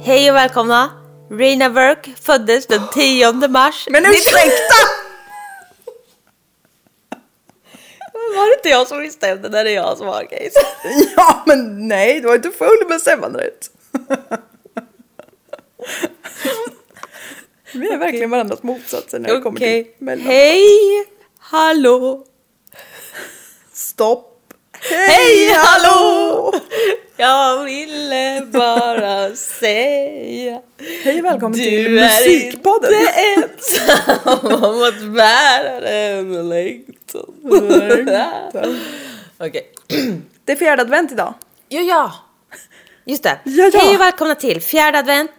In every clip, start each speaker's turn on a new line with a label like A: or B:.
A: Hej och välkomna! Reina Burke föddes den 10 mars.
B: Men ursäkta!
A: Var det inte jag som bestämde när det är jag som har case?
B: ja, men nej, du har inte full bestämmanderätt. Vi är verkligen varandras motsatser när det kommer till
A: Okej.
B: mellan.
A: Hej! Hallå!
B: Stopp!
A: Hej, hallå! Jag ville bara säga
B: Hej och välkommen till
A: Du är
B: Musikpodden!
A: inte ensam om att bära den längtan. Okej.
B: Det är fjärde advent idag.
A: Ja, ja. Just det.
B: Ja, ja.
A: Hej och välkomna till fjärde advent.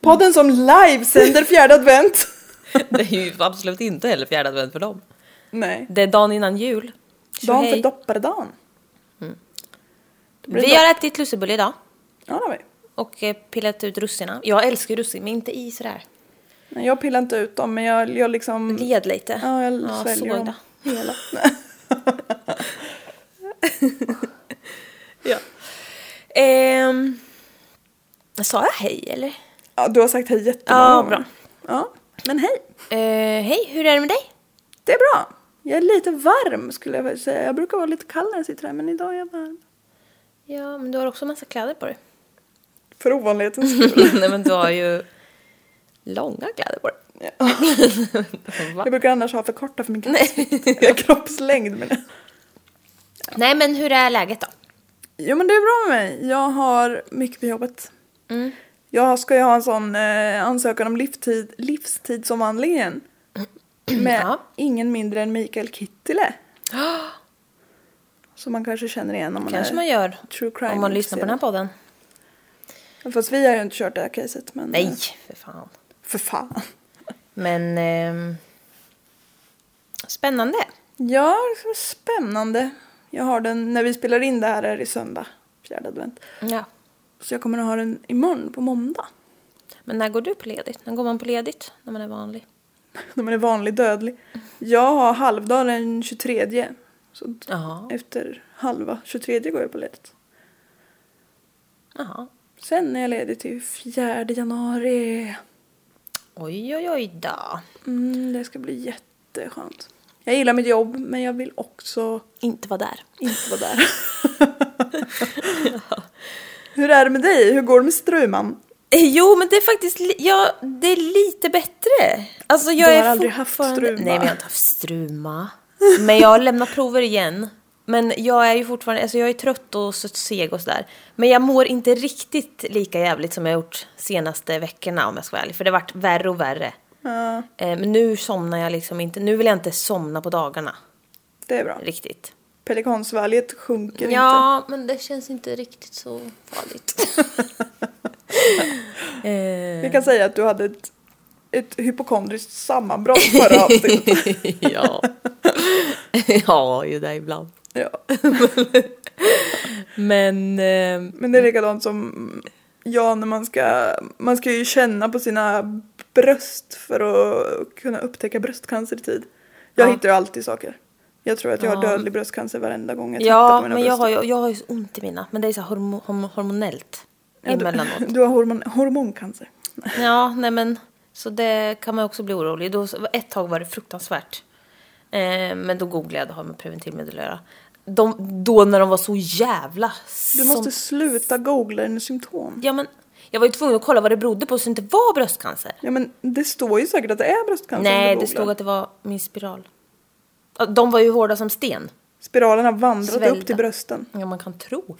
B: Podden som livesänder fjärde advent.
A: Det är ju absolut inte heller fjärde advent för dem.
B: Nej.
A: Det är dagen innan jul. Så
B: Dagen
A: hej.
B: för dopparedagen. blir det
A: Vi har ätit lussebulle idag
B: Ja, det har vi.
A: och eh, pillat ut russina. Jag älskar ju russin men inte i sådär.
B: Nej, jag pillar inte ut dem, men jag, jag liksom...
A: Led lite.
B: Ja, jag sväljer
A: såg
B: dem. Hela.
A: det. Ja. Ehm, sa jag hej eller?
B: Ja, du har sagt hej jättemånga
A: Ja,
B: gånger.
A: bra.
B: Ja, men hej.
A: Eh, hej, hur är det med dig?
B: Det är bra. Jag är lite varm skulle jag väl säga. Jag brukar vara lite kall när jag sitter här men idag är jag varm.
A: Ja, men du har också massa kläder på dig.
B: För ovanlighetens skull.
A: Nej men du har ju långa kläder på dig. Va?
B: jag brukar annars ha för korta för min kroppsvikt. Eller kroppslängd men.
A: Nej men hur är läget då?
B: Jo men det är bra med mig. Jag har mycket på jobbet.
A: Mm,
B: Jag ska ju ha en sån eh, ansökan om livstid, livstidsomvandling igen. Med
A: Ja.
B: ingen mindre än Mikael Kittile. Som man kanske känner igen om man
A: Kanske
B: är
A: man gör
B: true crime
A: om man lyssnar på den här podden.
B: podden. Fast vi har ju inte kört det här caset men. eh,
A: Nej, för fan.
B: För fan.
A: Men... ehm, spännande.
B: Ja, så spännande. Jag har den när vi spelar in det här är det söndag, fjärde advent.
A: Ja.
B: Så jag kommer att ha den imorgon på måndag.
A: Men när går du på ledigt? När går man på ledigt? När man är vanlig?
B: När man är vanlig dödlig. Jag har halvdag den 23. Så d-
A: Jaha.
B: efter halva 23 går jag på ledigt.
A: Jaha.
B: Sen är jag ledig till 4 januari.
A: Oj, oj, oj då.
B: Mm, det ska bli jätteskönt. Jag gillar mitt jobb men jag vill också
A: Inte vara där.
B: inte vara där. Hur är det med dig? Hur går det med Struman?
A: Eh, Jo, men det är faktiskt li- ja, det är lite bättre. Alltså, jag
B: Du
A: är
B: har aldrig haft
A: fortfarande- Nej, men
B: struma.
A: jag har inte haft struma. Men jag har lämnat prover igen. Men jag är ju fortfarande, alltså jag är trött och så seg och sådär. Men jag mår inte riktigt lika jävligt som jag gjort senaste veckorna om jag ska vara ärlig. För det har varit värre och värre.
B: Ja,
A: Eh, Men nu somnar jag liksom inte, nu vill jag inte somna på dagarna
B: det är bra.
A: riktigt.
B: Pelikansvalget sjunker inte.
A: Ja, men det känns inte riktigt så farligt. Eh.
B: Vi kan säga att du hade ett, ett hypokondriskt sammanbrott förra avsnittet.
A: ja. ja, ju det ibland.
B: ja.
A: Men... Eh,
B: Men det är likadant som ja, när man ska, man ska ju känna på sina bröst för att kunna upptäcka bröstcancer i tid. Jag
A: Ja.
B: hittar ju alltid saker. Jag tror att jag har
A: Ja.
B: dödlig bröstcancer varenda gång jag tittar
A: ja,
B: på mina
A: men jag
B: bröst.
A: har, ju, jag har ju så ont i mina. Men det är så här hormo, horm- hormonellt emellanåt.
B: Du, du har hormon, hormoncancer.
A: Ja, nej men... Så det kan man också bli orolig. Då, ett tag var det fruktansvärt. Eh, men då googlade jag, det har med preventivmedel att göra. De, då när de var så jävla...
B: Du
A: som-
B: måste sluta googla dina symptom.
A: Ja, men jag var ju tvungen att kolla vad det berodde på så det inte var bröstcancer.
B: Ja men det står ju säkert att det är bröstcancer om du
A: Nej, det
B: googlar.
A: stod att det var min spiral. Ja, De var ju hårda som sten.
B: Spiralen har vandrat
A: Svällda.
B: upp till brösten.
A: Ja, man kan tro.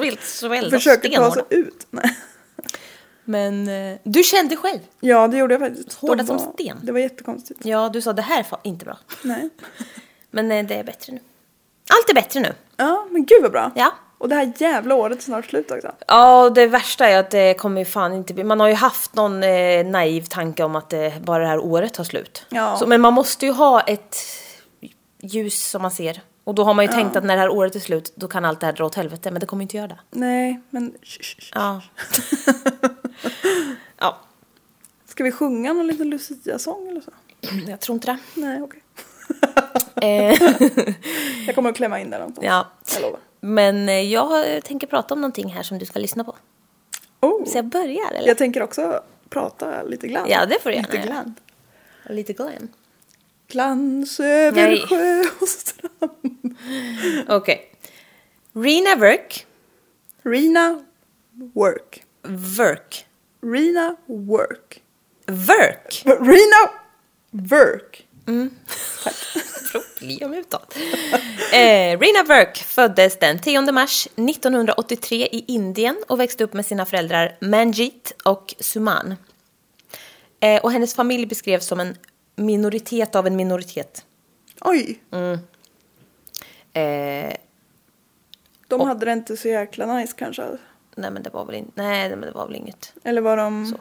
A: Vilt svällda
B: Försöker ta sig
A: stenhårda.
B: ut. Nej.
A: Men eh, du kände själv.
B: Ja, det gjorde jag faktiskt. De
A: Hårda som
B: var-
A: sten.
B: Det var jättekonstigt.
A: Ja, du sa det här är fa- inte bra.
B: Nej.
A: Men eh, det är bättre nu. Allt är bättre nu.
B: Ja, men gud vad bra.
A: Ja.
B: Och det här jävla året är snart slut också.
A: Ja, och det värsta är att det kommer ju fan inte bli... Man har ju haft någon eh, naiv tanke om att eh, bara det här året tar slut.
B: Ja.
A: Så, men man måste ju ha ett ljus som man ser. Och då har man ju tänkt att när det här året är slut, då kan allt det här dra åt helvete. Men det kommer inte göra det.
B: Nej, men sh- sh- sh.
A: Ja. ja,
B: Ska vi sjunga någon liten Lucia-sång eller så?
A: jag tror inte det.
B: Nej, okej.
A: Eh,
B: Jag kommer att klämma in där någonstans.
A: ja.
B: Jag lovar.
A: Men eh, jag tänker prata om någonting här som du ska lyssna på.
B: Oh.
A: Så jag börjar eller?
B: Jag tänker också prata lite grann.
A: Ja, det får du
B: Lite
A: gärna göra.
B: grann.
A: Lite glam.
B: Glans över
A: Nej.
B: sjö och strand.
A: Okej. Rena Work.
B: Rina Work.
A: Work.
B: Rina Work.
A: Work.
B: Rina Work.
A: Problem utåt. Eh, Rena Work föddes den 10 mars 1983 i Indien och växte upp med sina föräldrar Manjit och Suman. Eh, och hennes familj beskrevs som en minoritet av en minoritet.
B: Oj,
A: Eh,
B: de hade det inte så jäkla nice kanske.
A: nej, men det var väl, in- nej, men det var väl inget.
B: Eller var de...
A: Så.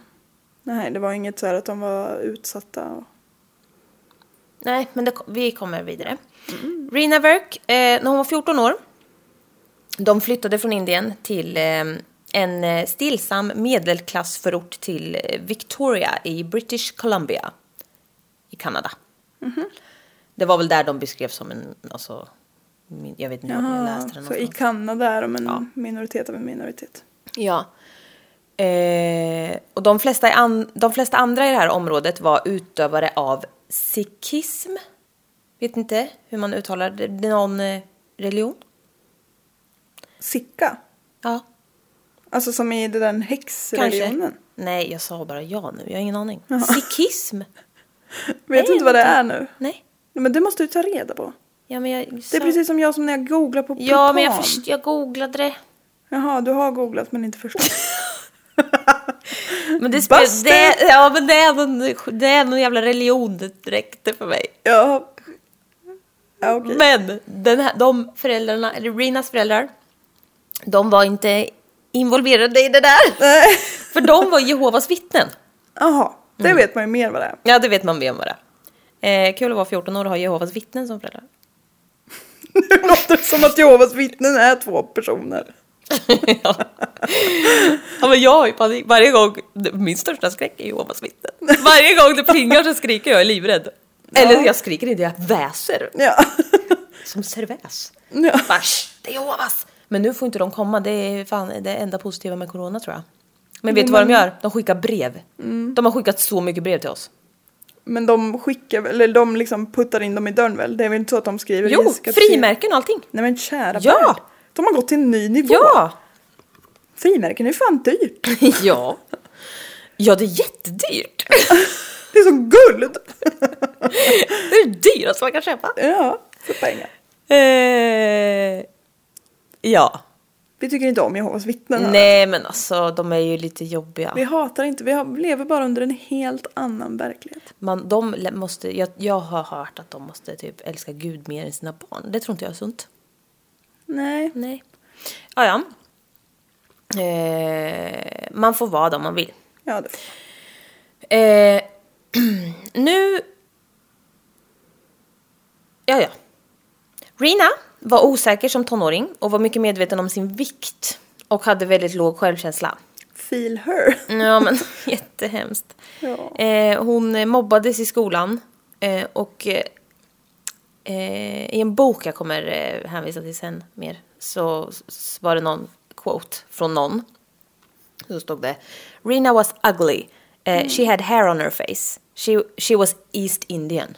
B: Nej, det var inget så här att de var utsatta. och-
A: Nej, men det, vi kommer vidare. Rina Verk, eh, när hon var 14 år, de flyttade från Indien till eh, en eh, stillsam medelklassförort till eh, Victoria i British Columbia i Kanada.
B: Mhm.
A: Det var väl där de beskrevs som en, alltså, min, jag vet inte var jag läste det
B: så i
A: någonstans.
B: Kanada är de en
A: Ja.
B: minoritet av en minoritet.
A: Ja. Eh, och de flesta, i an, de flesta andra i det här området var utövare av sikhism. Vet inte hur man uttalar det. Det är Någon eh, religion?
B: Sicka.
A: Ja,
B: Alltså som i den
A: kanske.
B: häxreligionen.
A: Nej, jag sa bara ja nu. Jag har ingen aning. Sikhism?
B: Vet du inte vad det är nu?
A: Nej.
B: Men det måste du ta reda på.
A: Ja, men jag
B: Det
A: sa...
B: är precis som jag som när jag googlar på
A: Ja, men jag,
B: propan.
A: först, jag googlade det.
B: Jaha, du har googlat men inte förstått.
A: Men det, spel,
B: Buster!
A: det, ja, men det, är någon, det är någon jävla religion det räckte för mig.
B: ja. Ja, okej.
A: Men den här, de föräldrarna, eller Rinas föräldrar, de var inte involverade i det där.
B: Nej.
A: För de var Jehovas vittnen.
B: Jaha, det
A: Mm.
B: vet man ju mer vad det är.
A: Ja, det vet man mer om vad det är. eh, Kul att vara 14 år och ha Jehovas vittnen som föräldrar.
B: Det låter som att Jehovas vittnen är två personer.
A: ja. ja, men jag har ju panik. Varje gång, min största skräck är Jehovas vittnen. Varje gång det plingar så skriker jag, jag är livrädd. Eller
B: Ja.
A: jag skriker inte, jag väser.
B: Ja.
A: Som serväs.
B: ja.
A: Bara, "Shh, det är Jehovas! Men nu får inte de komma, det är fan det enda positiva med corona tror jag. Men vet du vad de gör? De skickar brev. De har skickat så mycket brev till oss.
B: Men de skickar väl- eller de liksom puttar in dem i dörren väl? Det är väl inte så att de skriver
A: Jo,
B: Jessica till-
A: frimärken och allting!
B: Nej men kära
A: Ja.
B: värld. De har gått till en ny nivå.
A: Ja!
B: Frimärken är ju fan dyrt.
A: ja. Ja, det är jättedyrt!
B: Det är som guld.
A: Det är det dyraste man kan köpa.
B: Ja, för pengar.
A: Eh, ja.
B: Vi tycker inte om Jehovas vittnen. här.
A: Nej, men alltså de är ju lite jobbiga.
B: Vi hatar inte, vi har- lever bara under en helt annan verklighet.
A: Man, de lä- måste, jag, jag har hört att de måste typ älska Gud mer än sina barn. Det tror inte jag är sunt.
B: Nej.
A: Nej. Ja, ja. Eh, man får vara dem man vill.
B: Ja, det
A: Eh, nu... Ja, ja. Rina var osäker som tonåring och var mycket medveten om sin vikt och hade väldigt låg självkänsla.
B: Feel her.
A: Ja, men jättehemskt.
B: Ja.
A: Eh, hon mobbades i skolan eh, och eh, eh, i en bok jag kommer eh, hänvisa till sen mer så s- var det någon quote från någon. Så stod det Rina was ugly. Eh,
B: Mm.
A: She had hair on her face. She, she was East Indian.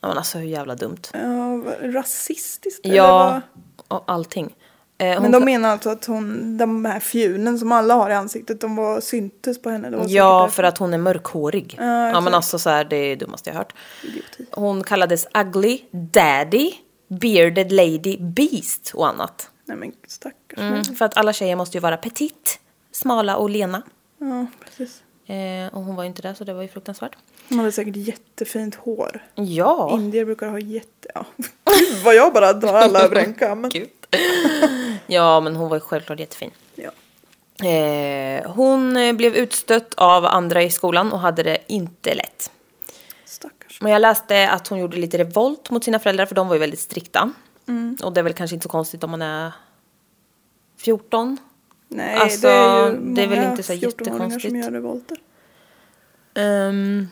A: Ja, men alltså hur jävla dumt.
B: Ja, vad- rasistiskt. eller
A: Ja,
B: vad?
A: och allting. Eh, hon
B: Men de
A: kla-
B: menar alltså att hon, de här fjunen som alla har i ansiktet, de var syntes på henne. Det var säkert
A: Ja,
B: därför.
A: för att hon är mörkhårig.
B: Ja,
A: ja men
B: exakt.
A: alltså så här, det är det dummaste jag hört.
B: Idioti.
A: Hon kallades Ugly, Daddy, Bearded Lady, Beast och annat.
B: Nej men stackars.
A: Mm. För att alla tjejer måste ju vara petit, smala och lena.
B: Ja, precis.
A: Eh, och hon var ju inte det, så det var ju fruktansvärt. Mm.
B: Hon hade säkert jättefint hår.
A: Ja!
B: Indier brukar ha jätte... Ja. Gud vad jag bara drar alla över en kam.
A: Gud. ja, men hon var ju självklart jättefin.
B: Ja.
A: Eh, hon eh, blev utstött av andra i skolan och hade det inte lätt.
B: Stackars.
A: Men jag läste att hon gjorde lite revolt mot sina föräldrar för de var ju väldigt strikta. Och det är väl kanske inte så konstigt om man är 14.
B: Nej,
A: Alltså,
B: det är ju
A: det är väl
B: många
A: inte så
B: 14-åringar
A: jättekonstigt.
B: som gör revolter.
A: Ehm,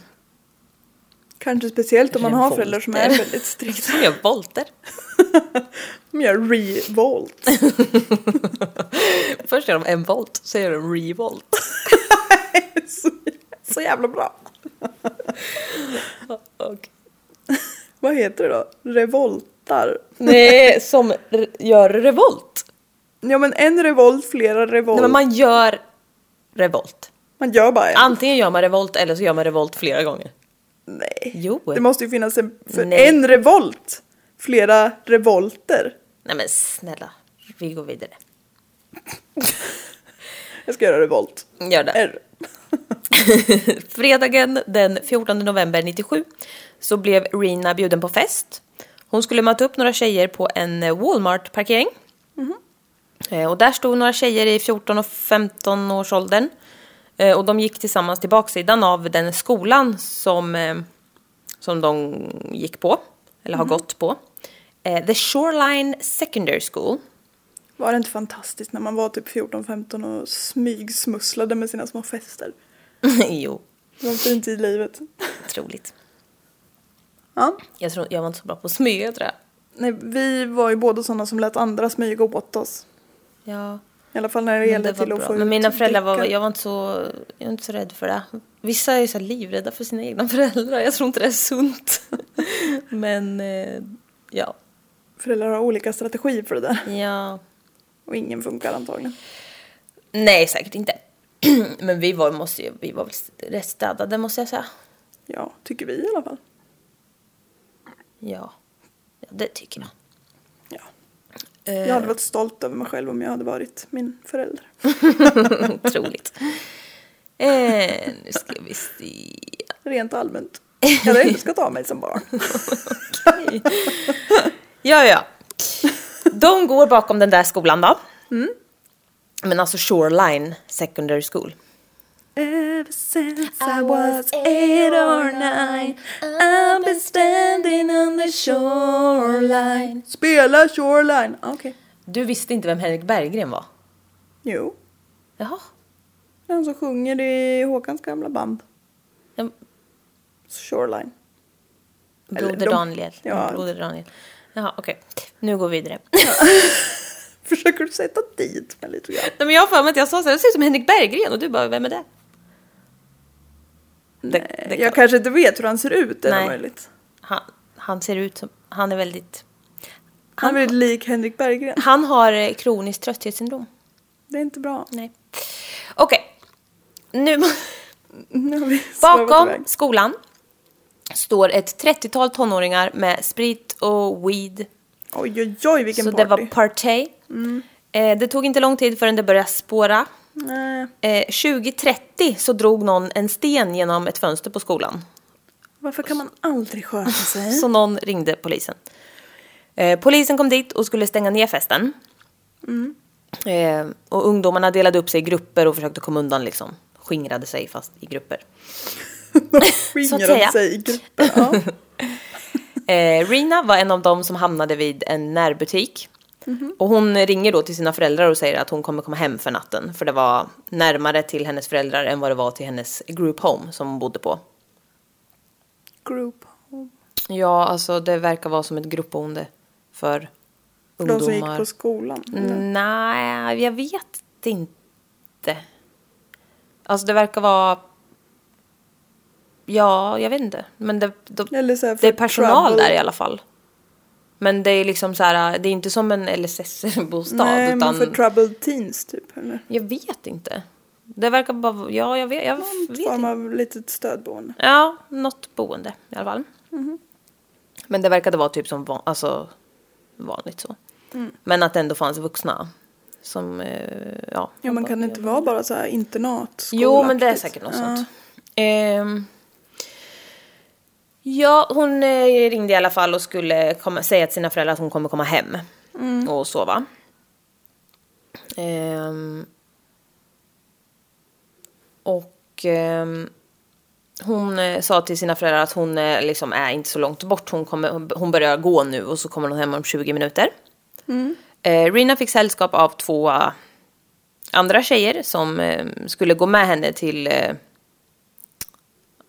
B: Kanske speciellt om man
A: Eller
B: har
A: volter.
B: föräldrar som är väldigt strikta.
A: Som gör volter.
B: De gör revolt.
A: Först gör de en volt, sen gör de revolt.
B: Så, så jävla bra.
A: Och...
B: Vad heter det då? Revoltar?
A: Nej, som re- gör revolt.
B: Ja men en revolt, flera revolt.
A: Nej, men man gör revolt.
B: man gör bara en.
A: Antingen gör man revolt eller så gör man revolt flera gånger.
B: Nej.
A: Jo.
B: Det måste ju finnas en, för
A: Nej.
B: en revolt. Flera revolter.
A: Nej men snälla, vi går vidare.
B: Jag ska göra revolt.
A: Gör det.
B: R.
A: Fredagen den 14 november 97 så blev Rina bjuden på fest. Hon skulle möta upp några tjejer på en Walmart-parkering. Eh, Och där stod några tjejer i 14 och 15 års åldern. Eh, Och de gick tillsammans till baksidan av den skolan som, eh, som de gick på, eller har gått på. Eh, The Shoreline Secondary School.
B: Var det inte fantastiskt när man var typ 14-15 och smygsmusslade med sina små fester?
A: jo,
B: Det var en fin tid i livet.
A: otroligt.
B: Ja.
A: Jag, tror, jag var inte så bra på att smyga tror jag.
B: Nej, vi var ju båda sådana som lät andra smyga åt oss.
A: Ja,
B: I alla fall när det
A: Men
B: gällde
A: det var
B: till typ
A: bra.
B: att få
A: Men
B: ut
A: mina föräldrar var,
B: dricka.
A: jag var inte så, jag var inte så rädd för det. Vissa är ju så här livrädda för sina egna föräldrar. Jag tror inte det är sunt. Men eh, ja,
B: Föräldrar har olika strategier för det där.
A: ja.
B: Och ingen funkar antagligen.
A: Nej, säkert inte. Men vi var, måste ju, vi var väl rätt städade måste jag säga.
B: Ja, tycker vi i alla fall.
A: Ja, ja det tycker jag.
B: Ja.
A: Eh,
B: Jag hade varit stolt över mig själv om jag hade varit min förälder.
A: Otroligt. Eh, nu ska vi se.
B: Rent allmänt. Jag hade älskat att ha mig som barn.
A: Ja, ja. De går bakom den där skolan då. Mm. Men alltså Shoreline Secondary School.
B: Ever since I was eight or nine I've been standing on the shoreline Spela shoreline! Ah, Okej.
A: Du visste inte vem Henrik Berggren var?
B: Jo.
A: Jaha.
B: Det är han som sjunger i Håkans gamla band.
A: Ja,
B: Shoreline. Eller
A: Broder
B: de-
A: Daniel.
B: ja.
A: Broder Daniel. Jaha, okej. Nu går vi vidare.
B: Försöker du sätta dit mig lite grann?
A: Nej, men jag har för mig att jag sa så här, det ser ut som Henrik Berggren och du bara, vem är det? Det-
B: Nej,
A: det kan-
B: jag kanske inte vet hur han ser ut, är det
A: Nej.
B: möjligt?
A: Han, han ser ut som, han är väldigt...
B: Han är väldigt lik Henrik Berggren.
A: Han har eh, kroniskt trötthetssyndrom.
B: Det är inte bra.
A: Nej. Okej. Nu...
B: Nu har vi svävat iväg.
A: Bakom skolan står ett 30-tal tonåringar med sprit och weed.
B: Oj, oj, oj vilken
A: så
B: party. Mm.
A: det var party. Eh, det tog inte lång tid förrän det började spåra.
B: Nej,
A: Eh, 2030 så drog någon en sten genom ett fönster på skolan.
B: varför kan man aldrig sköta sig?
A: Så någon ringde polisen. Eh, polisen kom dit och skulle stänga ner festen.
B: Mm.
A: Eh, och ungdomarna delade upp sig i grupper och försökte komma undan liksom. Skingrade sig fast i grupper. så att
B: Skingrar de
A: säga.
B: sig i grupper? Ja.
A: Eh, Rina var en av dem som hamnade vid en närbutik. Och hon ringer då till sina föräldrar och säger att hon kommer komma hem för natten. För det var närmare till hennes föräldrar än vad det var till hennes group home som hon bodde på.
B: Group home.
A: Ja, alltså det verkar vara som ett gruppboende för
B: För
A: ungdomar. Mm.
B: de som gick på skolan. eller?
A: Nej, jag vet inte. Alltså det verkar vara... Ja, jag vet inte. Men det, de,
B: Eller så här
A: det är
B: för
A: personal
B: travel.
A: där i alla fall. Men det är liksom så här, det är inte som en LSS-bostad.
B: Nej,
A: utan...
B: men för troubled teens typ. Eller?
A: Jag vet inte. Det verkar bara vara- Ja, jag vet, jag vet
B: Någon
A: inte.
B: form av litet stödboende.
A: Ja, något boende i alla fall.
B: Mhm.
A: Men det verkade vara typ som van, alltså, vanligt så.
B: Mm.
A: Men att det ändå fanns vuxna som, eh, ja.
B: Ja, man kan inte vara bara så här internat.
A: Jo, men det är
B: skolaktigt.
A: säkert något
B: Ja.
A: sånt. Ehm, ja, hon eh, ringde i alla fall och skulle komma, säga till sina föräldrar att hon kommer komma hem
B: Mm.
A: och sova. Ehm, och ehm, hon eh, sa till sina föräldrar att hon eh, liksom är inte så långt bort. Hon, kommer, hon börjar gå nu och så kommer hon hem om 20 minuter.
B: Mm.
A: Eh, Rina fick sällskap av två eh, andra tjejer som eh, skulle gå med henne till eh,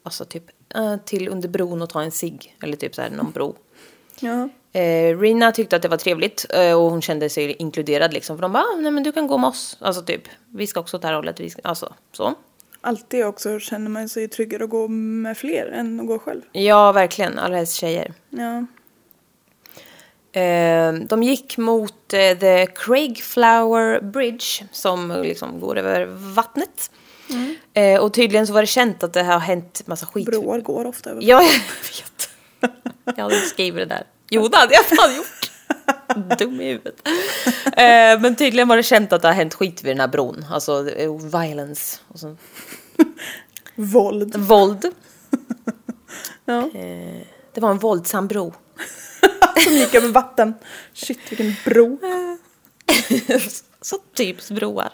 A: alltså typ eh, till under bron och ta en cigg. Eller typ så här någon bro.
B: Ja.
A: Eh, Rina tyckte att det var trevligt eh, och hon kände sig inkluderad liksom. För de bara, ah, nej men du kan gå med oss. Alltså typ, vi ska också åt det här hållet. Vi ska, alltså så.
B: Alltid också känner man sig tryggare att gå med fler än att gå själv.
A: Ja, verkligen. Allra helst tjejer.
B: Ja.
A: Eh, de gick mot eh, The Craigflower Bridge som eh, liksom går över vattnet. Eh, och tydligen så var det känt att det här har hänt massa skit.
B: Broar går ofta över.
A: Ja, jag vet. Jag hade inte skrivit det där. Jo, det hade jag fan gjort. Dum i huvudet. Eh, men tydligen var det känt att det har hänt skit vid den här bron. Alltså eh, violence och sånt.
B: Våld.
A: Våld.
B: Ja.
A: Eh, det var en våldsam bro.
B: Som gick över vatten. Eh, Shit vilken bro.
A: så typs broar.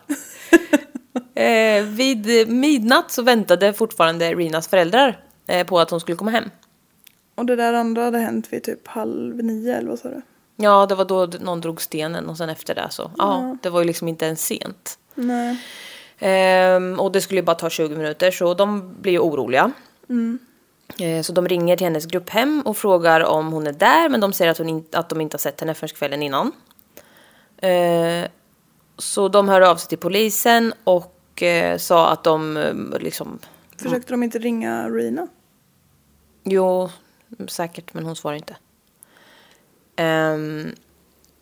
A: eh, vid midnatt så väntade fortfarande Rinas föräldrar eh, på att hon skulle komma hem.
B: Och det där andra hade hänt vid typ halv nio eller vad sa du?
A: Ja, det var då d- någon drog stenen och sen efter det så, ja, det var ju liksom inte ens sent.
B: Nej.
A: Ehm, och det skulle ju bara ta 20 minuter så de blir ju oroliga. Eh, Så de ringer till hennes grupphem och frågar om hon är där men de säger att, hon in, att de inte har sett henne förrän kvällen innan. Eh, Så de hör av sig till polisen och eh, sa att de eh, liksom,
B: Försökte de inte ringa Rina?
A: jo säkert men hon svarar inte. Ehm,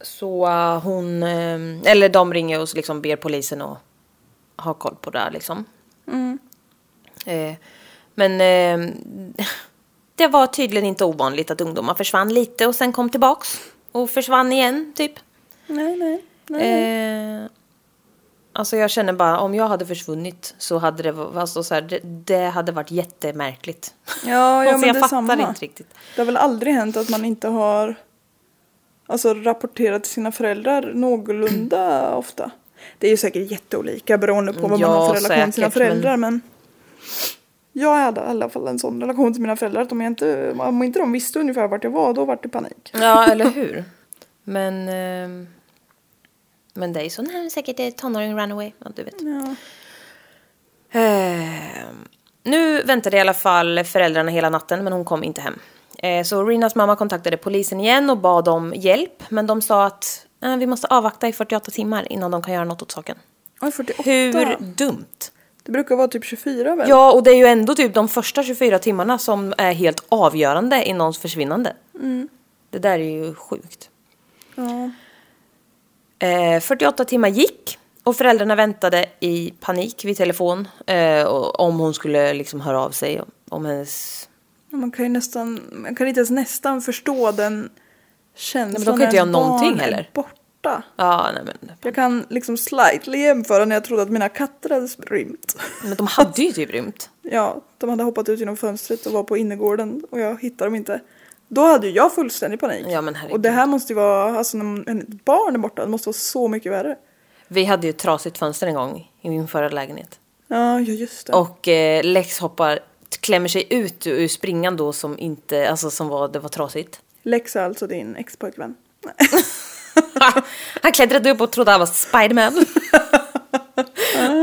A: Så eh, hon, ehm, eller de ringer och liksom ber polisen att ha koll på det här liksom.
B: Mm.
A: Eh, men eh, det var tydligen inte ovanligt att ungdomar försvann lite och sen kom tillbaks och försvann igen, typ.
B: Nej, nej. nej.
A: Eh, alltså jag känner bara, om jag hade försvunnit så hade det, va- alltså så här, det, det hade varit jättemärkligt.
B: Ja, ja
A: alltså,
B: men
A: jag
B: det är
A: fattar
B: samma.
A: inte riktigt.
B: Det har väl aldrig hänt att man inte har alltså, rapporterat till sina föräldrar någorlunda ofta. Det är ju säkert jätteolika beroende på vad man
A: Ja,
B: har för relation till sina
A: säkert, men-
B: föräldrar. Men... jag hade i alla fall en sån relation till mina föräldrar att om, jag inte, om inte de visste ungefär vart jag var då vart det panik.
A: Ja, eller hur? Men, eh, men det är ju så, nej, säkert är tonåring runaway, ja, du vet.
B: Ja.
A: Eh, nu väntade i alla fall föräldrarna hela natten men hon kom inte hem. Eh, så Rinas mamma kontaktade polisen igen och bad om hjälp men de sa att eh, vi måste avvakta i 48 timmar innan de kan göra något åt saken.
B: Oj, 48.
A: Hur dumt!
B: Det brukar vara typ 24 väl?
A: Ja och det är ju ändå typ de första 24 timmarna som är helt avgörande i någons försvinnande. Det där är ju sjukt.
B: Ja.
A: Eh, 48 timmar gick och föräldrarna väntade i panik vid telefon eh, och- om hon skulle liksom höra av sig om hennes
B: Man kan ju nästan, man kan inte ens nästan förstå den känslan
A: Nej, men de kan
B: när
A: inte göra
B: ens barn
A: någonting
B: är
A: heller.
B: borta.
A: Ja, nej men.
B: Jag kan liksom slightly jämföra när jag trodde att mina katter hade rymt.
A: Men de hade ju typ rymt.
B: Ja, de hade hoppat ut genom fönstret och var på innergården och jag hittade dem inte. Då hade ju jag fullständig panik.
A: Ja, men herregud.
B: och det här måste ju vara, alltså när ett barn är borta, det måste vara så mycket värre.
A: Vi hade ju ett trasigt fönster en gång i min förra lägenhet.
B: Ja, ja just det.
A: Och eh, Lex hoppar, klämmer sig ut ur springan då som inte, alltså som var, det var trasigt.
B: Lex är alltså din expojkvän. Nej.
A: han klättrade upp och trodde han var Spiderman.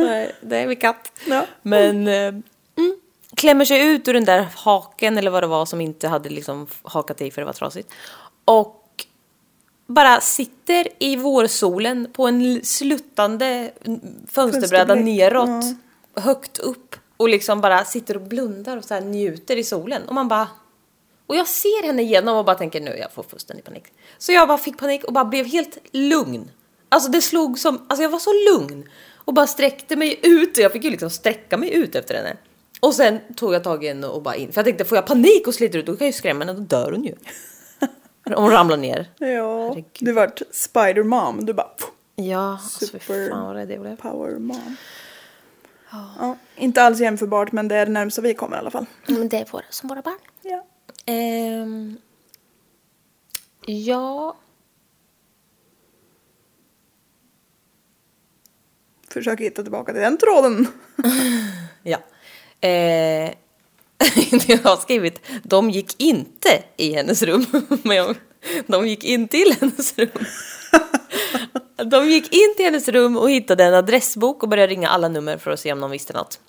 A: Nej, det är min katt.
B: Ja.
A: Men eh, mm, klämmer sig ut ur den där haken eller vad det var som inte hade liksom hakat i för det var trasigt. Och bara sitter i vårsolen på en l- sluttande fönsterbräda
B: Fönsterbläck,
A: neråt. Högt upp. Och liksom bara sitter och blundar och så här njuter i solen. Och man bara... Och jag ser henne igenom och bara tänker nu jag får fullständig panik. Så jag bara fick panik och bara blev helt lugn. Alltså det slog som, alltså jag var så lugn. Och bara sträckte mig ut och jag fick ju liksom sträcka mig ut efter henne. Och sen tog jag tag i henne och bara in. För jag tänkte får jag panik och sliter ut då kan jag ju skrämma henne, då dör hon ju. Om hon ramlar ner.
B: Ja,
A: Herregud.
B: du vart spider-mom. Du bara pff,
A: Ja, alltså fy
B: Super.
A: fan vad rädd jag blev.
B: power-mom. Ja, inte alls jämförbart men det är det närmsta vi kommer i alla fall.
A: Men det är våra, som våra barn.
B: Ja.
A: Ehm, ja,
B: Försök hitta tillbaka till den tråden.
A: Ja. Eh, jag har skrivit, de gick inte i hennes rum. Men jag, de gick in till hennes rum. De gick in till hennes rum och hittade en adressbok och började ringa alla nummer för att se om någon visste något.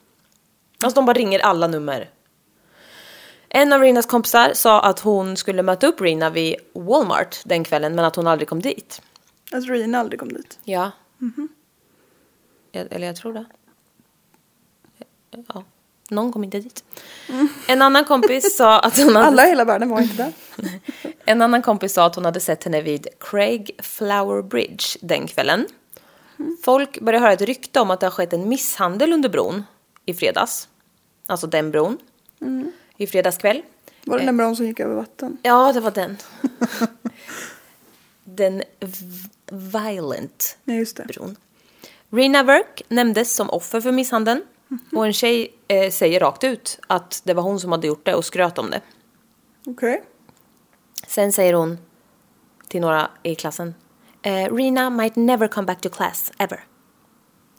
A: Alltså de bara ringer alla nummer. En av Rinas kompisar sa att hon skulle möta upp Rina vid Walmart den kvällen men att hon aldrig kom dit.
B: Att Alltså, Rina aldrig kom dit.
A: Ja. Mhm. Jag, eller jag tror det. Ja. Någon kom inte dit. En annan kompis sa att hon hade
B: Alla i hela världen var inte där.
A: En annan kompis sa att hon hade sett henne vid Craig Flower Bridge den kvällen. Folk började höra ett rykte om att det har skett en misshandel under bron i fredags. Alltså den bron. I fredags kväll.
B: Var det den bron som gick över vatten?
A: Ja, det var den. den v- violent
B: Nej, just det.
A: bron. Rina Work nämndes som offer för misshandeln. Och en tjej eh, säger rakt ut att det var hon som hade gjort det och skröt om det.
B: Okej.
A: Sen säger hon till några i klassen. Eh, Rina might never come back to class, ever.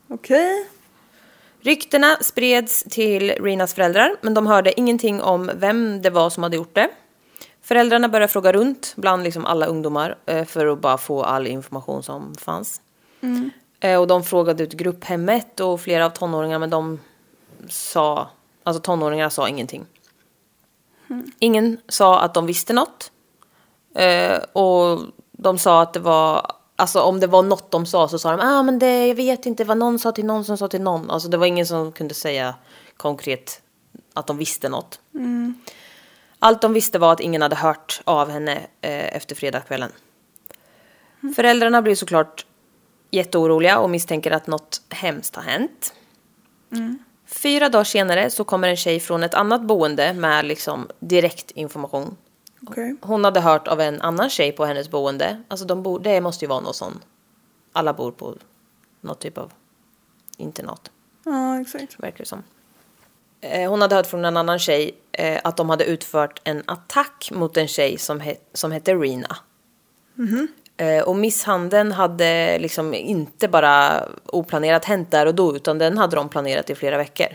B: Okej.
A: Ryktena spreds till Rinas föräldrar, men de hörde ingenting om vem det var som hade gjort det. Föräldrarna började fråga runt bland liksom alla ungdomar eh, för att bara få all information som fanns. Eh, Och de frågade ut grupphemmet och flera av tonåringarna, men de sa, alltså tonåringarna sa ingenting. Ingen sa att de visste något. Eh, och de sa att det var, alltså om det var något de sa så sa de, ah men det, jag vet inte vad någon sa till någon som sa till någon. Alltså det var ingen som kunde säga konkret att de visste något. Allt de visste var att ingen hade hört av henne eh, efter fredagskvällen. Föräldrarna blev såklart jätteoroliga och misstänker att något hemskt har hänt. Fyra dagar senare så kommer en tjej från ett annat boende med liksom direkt information
B: Okej.
A: hon hade hört av en annan tjej på hennes boende. Alltså de bor, det måste ju vara någon sån. Alla bor på något typ av internat,
B: Ja, exakt.
A: verkar det som. Eh, Hon hade hört från en annan tjej eh, att de hade utfört en attack mot en tjej som, he- som hette Rina. Eh, Och misshandeln hade liksom inte bara oplanerat hänt där och då utan den hade de planerat i flera veckor.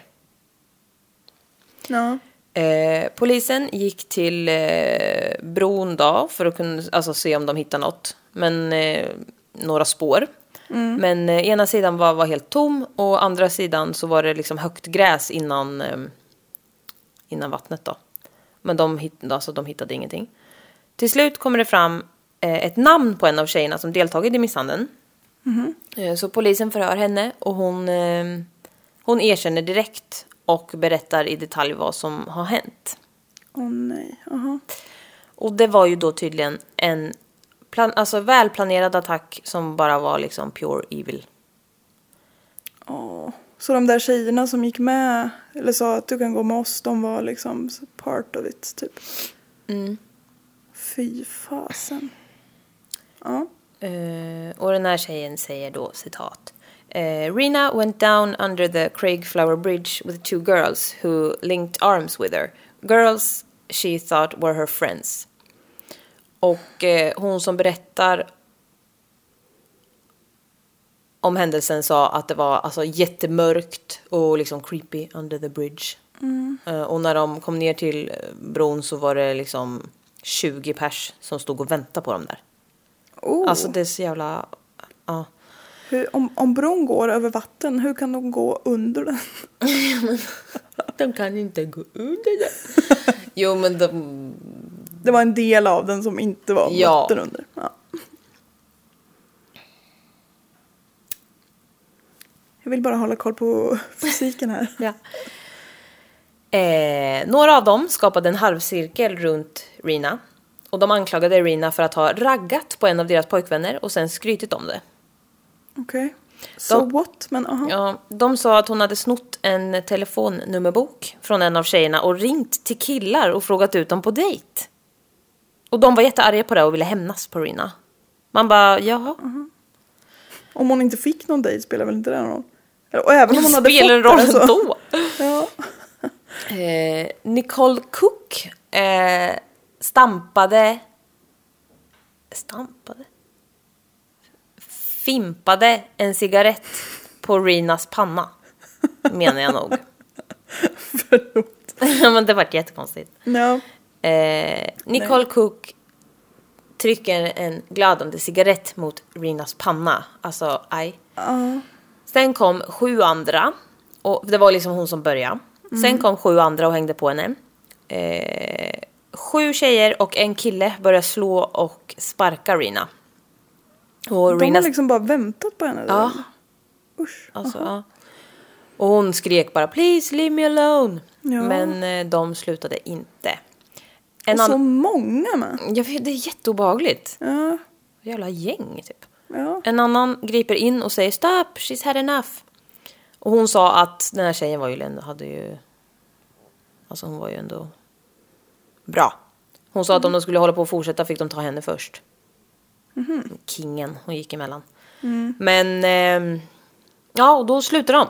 B: Ja.
A: Eh, polisen gick till eh, bron då för att kunna alltså, se om de hittade något. Men eh, några spår. Men eh, ena sidan var, var helt tom och andra sidan så var det liksom högt gräs innan, eh, innan vattnet då. Men de, hitt, alltså, de hittade ingenting. Till slut kommer det fram eh, ett namn på en av tjejerna som deltagit i misshandeln. Eh, Så polisen förhör henne och hon, eh, hon erkänner direkt och berättar i detalj vad som har hänt.
B: Åh nej. Jaha.
A: Och det var ju då tydligen en plan, alltså välplanerad attack som bara var liksom pure evil.
B: Åh. Så de där tjejerna som gick med eller sa att du kan gå med oss, de var liksom part of it typ. Fy fasen. Ja.
A: Eh, och den här tjejen säger då citat. Eh, Rina went down under the Craig Flower Bridge with two girls who linked arms with her. Girls she thought were her friends. Och eh, hon som berättar om händelsen sa att det var alltså, jättemörkt och liksom creepy under the bridge. Eh, och när de kom ner till eh, bron så var det liksom 20 pers som stod och väntade på dem där.
B: Oh.
A: Alltså det är så jävla... Ja.
B: Hur, om, om bron går över vatten, hur kan de gå under den?
A: De kan inte gå under det. jo men de...
B: Det var en del av den som inte var
A: Ja.
B: vatten under. Ja. Jag vill bara hålla koll på fysiken här.
A: Ja. Eh, några av dem skapade en halvcirkel runt Rina. Och de anklagade Rina för att ha raggat på en av deras pojkvänner och sen skrytit om det.
B: Okej. So
A: De-
B: what? Men aha.
A: Ja, de sa att hon hade snott en telefonnummerbok från en av tjejerna och ringt till killar och frågat ut dem på dejt. Och de var jättearga på det och ville hämnas på Rina. Man bara, jaha.
B: Om hon inte fick någon dejt spelar väl inte det någon roll? Eller- Och även om hon hade fått
A: Spelar det
B: det,
A: roll
B: alltså.
A: ändå?
B: Ja.
A: Eh, Nicole Cook eh, stampade... Stampade? Fimpade en cigarett på Rinas panna, menar jag nog.
B: Förlåt.
A: Ja, Men det vart jättekonstigt.
B: Ja.
A: Eh, Nicole Cook trycker en glödande cigarett mot Rinas panna. Alltså, aj.
B: Ja.
A: Sen kom
B: Mm.
A: sju andra. Och det var liksom hon som började. Sen kom sju andra och hängde på henne. eh, sju tjejer och en kille börjar slå och sparka Rina. Och
B: De
A: Rina...
B: har liksom bara väntat på henne.
A: Ja.
B: Usch.
A: Alltså, ja. Och hon skrek bara “Please leave me alone”.
B: Ja.
A: Men eh, de slutade inte. En
B: Och så
A: annan...
B: många med.
A: Jag vet, det är jätteobehagligt.
B: Ja,
A: Jävla gäng typ.
B: ja.
A: En annan griper in och säger “Stop, she's had enough”. Och hon sa att den här tjejen var ju ändå, hade ju... Alltså hon var ju ändå bra. Hon sa att om de skulle hålla på och fortsätta fick de ta henne först. Kingen, hon gick emellan. Men... ehm, ja, och då slutade de.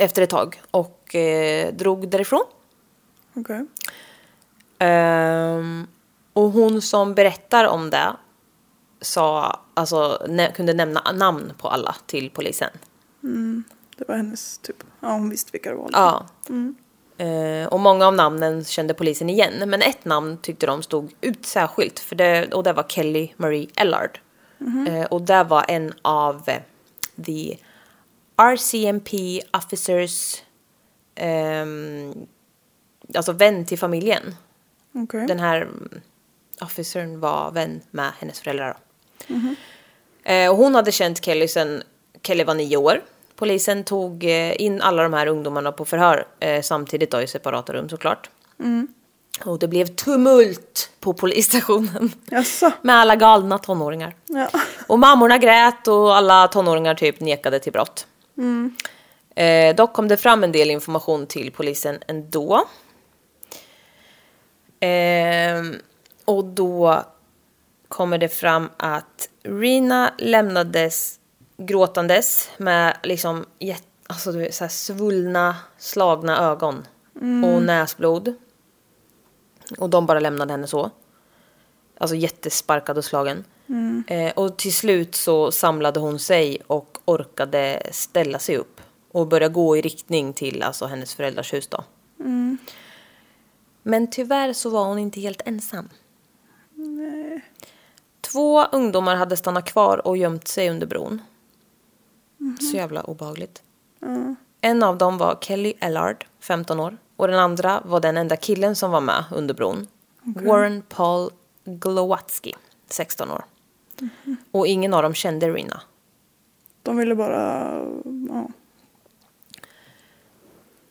A: Efter ett tag. Och eh, drog därifrån.
B: Okej.
A: Ehm, och hon som berättar om det sa, alltså, nä- kunde nämna namn på alla till polisen.
B: Mm, Det var hennes typ. Ja, hon visste vilka det var.
A: Ja. Ehm, och många av namnen kände polisen igen, men ett namn tyckte de stod ut särskilt. För det, och det var Kelly Marie Ellard. Ehm, och det var en av eh, the RCMP officers, ehm, alltså vän till familjen.
B: Okej.
A: den här mm, officern var vän med hennes föräldrar. då. Eh, och hon hade känt Kelly sen Kelly var nio år. Polisen tog eh, in alla de här ungdomarna på förhör eh, samtidigt då i separata rum såklart.
B: Mm,
A: Och det blev tumult på polisstationen
B: Jaså?
A: med alla galna tonåringar.
B: Ja.
A: Och mammorna grät och alla tonåringar typ nekade till brott. Eh, dock kom det fram en del information till polisen ändå. Ehm, och då kommer det fram att Rina lämnades gråtandes med liksom jätt, alltså, du vet, så här svullna, slagna ögon och näsblod. Och de bara lämnade henne så. Alltså jättesparkad och slagen. Eh, och till slut så samlade hon sig och orkade ställa sig upp. Och börja gå i riktning till alltså, hennes föräldrars hus då. Men tyvärr så var hon inte helt ensam. Två ungdomar hade stannat kvar och gömt sig under bron. Så jävla obehagligt. En av dem var Kelly Ellard, 15 år. Och den andra var den enda killen som var med under bron. Warren Paul Glowatsky, 16 år. Och ingen av dem kände Rina.
B: De ville bara... Ja.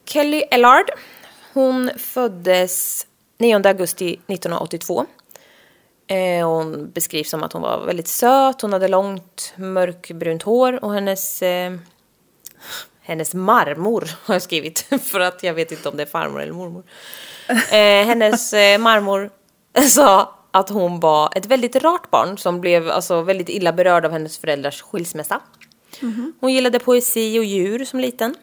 A: Kelly Ellard, hon föddes 9 augusti 1982. Eh, hon beskrivs som att hon var väldigt söt, hon hade långt mörkbrunt hår och hennes... Eh, hennes marmor har jag skrivit, för att jag vet inte om det är farmor eller mormor. Eh, hennes eh, marmor sa att hon var ett väldigt rart barn som blev alltså, väldigt illa berörd av hennes föräldrars skilsmässa. Hon gillade poesi och djur som liten.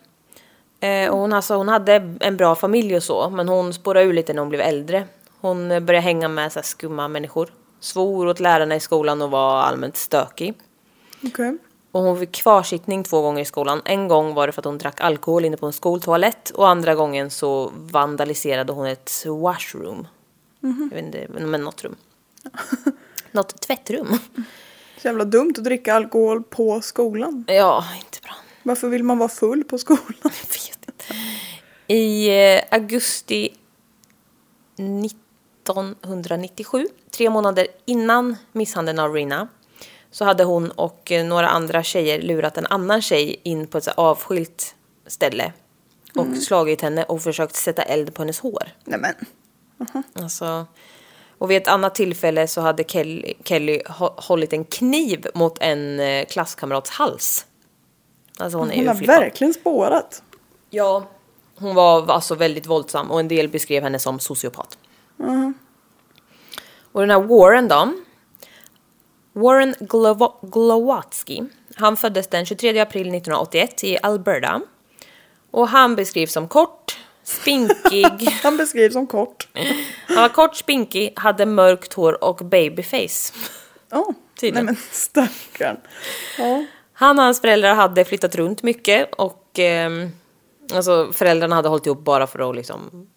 A: Eh, och hon, alltså, hon hade en bra familj och så, men hon spårade ur lite när hon blev äldre. Hon eh, började hänga med så här, skumma människor. Svor åt lärarna i skolan och var allmänt stökig.
B: Okej.
A: Och hon fick kvarsittning två gånger i skolan. En gång var det för att hon drack alkohol inne på en skoltoalett och andra gången så vandaliserade hon ett washroom. Jag vet inte, men men något rum. något tvättrum.
B: Så jävla dumt att dricka alkohol på skolan.
A: Ja, inte bra.
B: Varför vill man vara full på skolan?
A: Jag vet inte. I eh, augusti 1997, tre månader innan misshandeln av Rina, så hade hon och eh, några andra tjejer lurat en annan tjej in på ett så här avskilt ställe och slagit henne och försökt sätta eld på hennes hår.
B: Nej men.
A: Alltså, och vid ett annat tillfälle så hade Kelly, Kelly hå- hållit en kniv mot en eh, klasskamrats hals. Alltså hon är
B: Hon
A: ju
B: har
A: flippad.
B: verkligen spårat.
A: Ja. Hon var alltså väldigt våldsam och en del beskrev henne som sociopat. Och den här Warren då. Warren Glow- Glowatsky. Han föddes den 23 april 1981 i Alberta. Och han beskrivs som kort, spinkig.
B: Han beskrivs som kort.
A: han var kort, spinkig, hade mörkt hår och babyface.
B: Ja. Nej
A: Tydligen.
B: men stackarn. Ja.
A: Han och hans föräldrar hade flyttat runt mycket och ehm, alltså föräldrarna hade hållit ihop bara för att liksom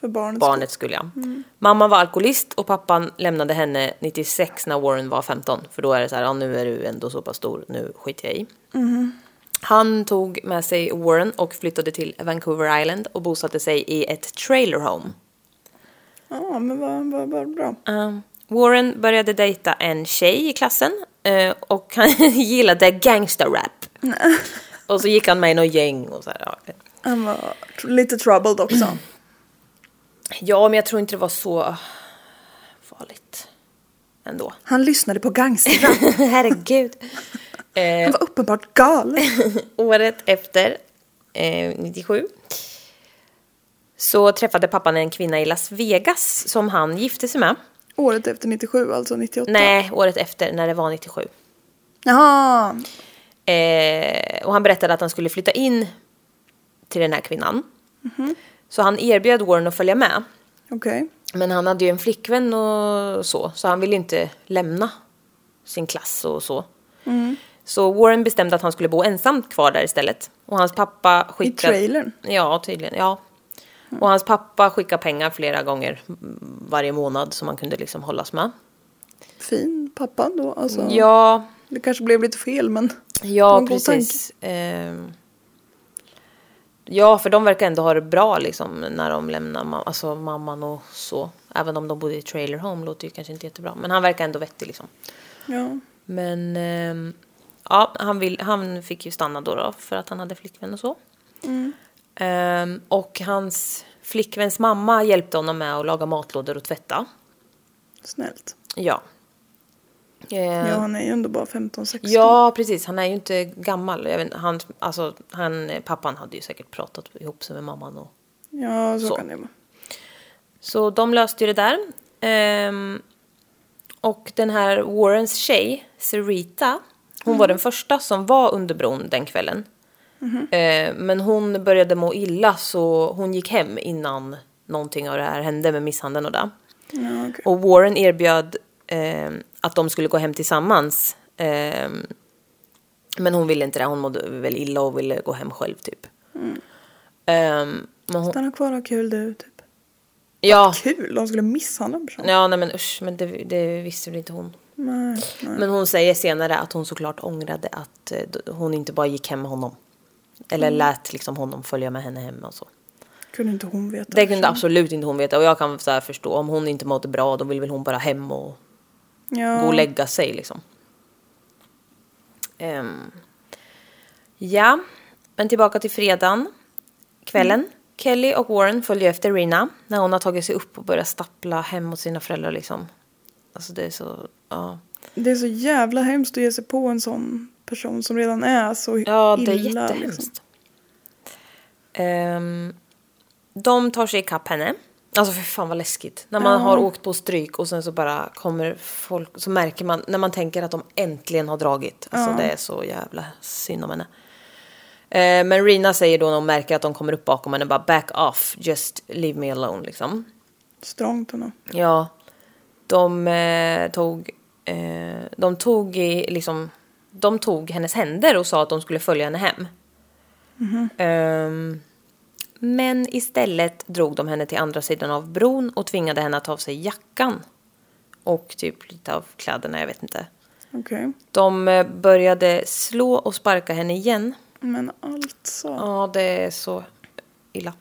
B: För barnets skull.
A: barnet skulle jag. Mamman var alkoholist och pappan lämnade henne 96 när Warren var 15. För då är det så här, ja, nu är du ändå så pass stor, nu skiter jag i. Han tog med sig Warren och flyttade till Vancouver Island och bosatte sig i ett trailer home.
B: Ja, men vad, vad, vad bra.
A: Um, Warren började dejta en tjej i klassen eh, och han gillade gangsterrap. Och så gick han med i något gäng och så här. Ja.
B: Han var tr- lite troubled
A: Mm.
B: också.
A: ja, men jag tror inte det var så farligt ändå.
B: Han lyssnade på gangsterrap.
A: Herregud. Eh,
B: Han var uppenbart galen.
A: året efter, eh, 97, så träffade pappan en kvinna i Las Vegas som han gifte sig med.
B: Året efter 97, alltså 98.
A: Nej, året efter, när det var 97.
B: Jaha.
A: Eh, och han berättade att han skulle flytta in till den här kvinnan. Så han erbjöd Warren att följa med.
B: Okej.
A: Men han hade ju en flickvän och så, så han ville inte lämna sin klass och så. Så Warren bestämde att han skulle bo ensam kvar där istället. Och hans pappa skickade...
B: trailern?
A: Ja, tydligen. Ja. Och hans pappa skickade pengar flera gånger mm, varje månad som han kunde liksom hållas med.
B: Fin pappa då. Alltså,
A: Ja,
B: Det kanske blev lite fel men. Det var
A: Ja,
B: en god
A: precis. Ehm, ja, för de verkar ändå ha det bra liksom när de lämnar ma- alltså, mamman och så. Även om de bodde i trailer home låter ju kanske inte jättebra. Men han verkar ändå vettig liksom.
B: Ja.
A: Men ehm, ja, han, vill, han fick ju stanna då, då för att han hade flickvän och så.
B: Mm.
A: Ehm, och hans flickväns mamma hjälpte honom med att laga matlådor och tvätta.
B: Snällt.
A: Ja. Ehm,
B: Ja, han är ju ändå bara 15-16.
A: Ja, precis. Han är ju inte gammal. Jag vet, inte, han, alltså, han, pappan hade ju säkert pratat ihop sig med mamman. Och,
B: Ja, så,
A: Så.
B: kan det vara.
A: så de löste ju det där. Ehm, och den här Warrens tjej, Sarita, hon var den första som var under bron den kvällen. Ehm, men hon började må illa så hon gick hem innan någonting av det här hände med misshandeln och det.
B: Ja, okej.
A: Och Warren erbjöd ehm, att de skulle gå hem tillsammans. Ehm, men hon ville inte det. Hon mådde väl illa och ville gå hem själv typ. Ehm, men hon,
B: Stanna kvar och ha kul du. Typ.
A: ja,
B: Kul? De skulle misshandla en person?
A: ja, nej men usch, men det, det visste väl inte hon.
B: Mm. Nej, nej.
A: Men hon säger senare att hon såklart ångrade att eh, d- hon inte bara gick hem med honom. Eller lät liksom honom följa med henne hem och så.
B: Kunde inte hon veta?
A: Det kunde absolut inte hon veta och jag kan så här förstå om hon inte mådde bra då vill väl hon bara hem och
B: ja.
A: gå och lägga sig liksom. Ehm, ja, men tillbaka till fredagen, kvällen. Kelly och Warren följer efter Rina när hon har tagit sig upp och börjat stappla hem mot sina föräldrar liksom. Alltså det är så, ja.
B: Det är så jävla hemskt att ge sig på en sån person som redan är så
A: Ja, det är
B: illa,
A: jättehemskt.
B: liksom.
A: Ehm, de tar sig ikapp henne. Alltså för fan vad läskigt. När man
B: Ja.
A: har åkt på stryk och sen så bara kommer folk, så märker man, när man tänker att de äntligen har dragit. Alltså det är så jävla synd om henne. Eh, men Rina säger då när hon märker att de kommer upp bakom henne bara back off, just leave me alone liksom.
B: Strångt honom.
A: Ja, de eh, tog, eh, de tog i, liksom, de tog hennes händer och sa att de skulle följa henne hem. Ehm, men istället drog de henne till andra sidan av bron och tvingade henne att ta av sig jackan. Och typ lite av kläderna, jag vet inte.
B: Okej.
A: De eh, började slå och sparka henne igen.
B: Men alltså.
A: Ja, det är så illa.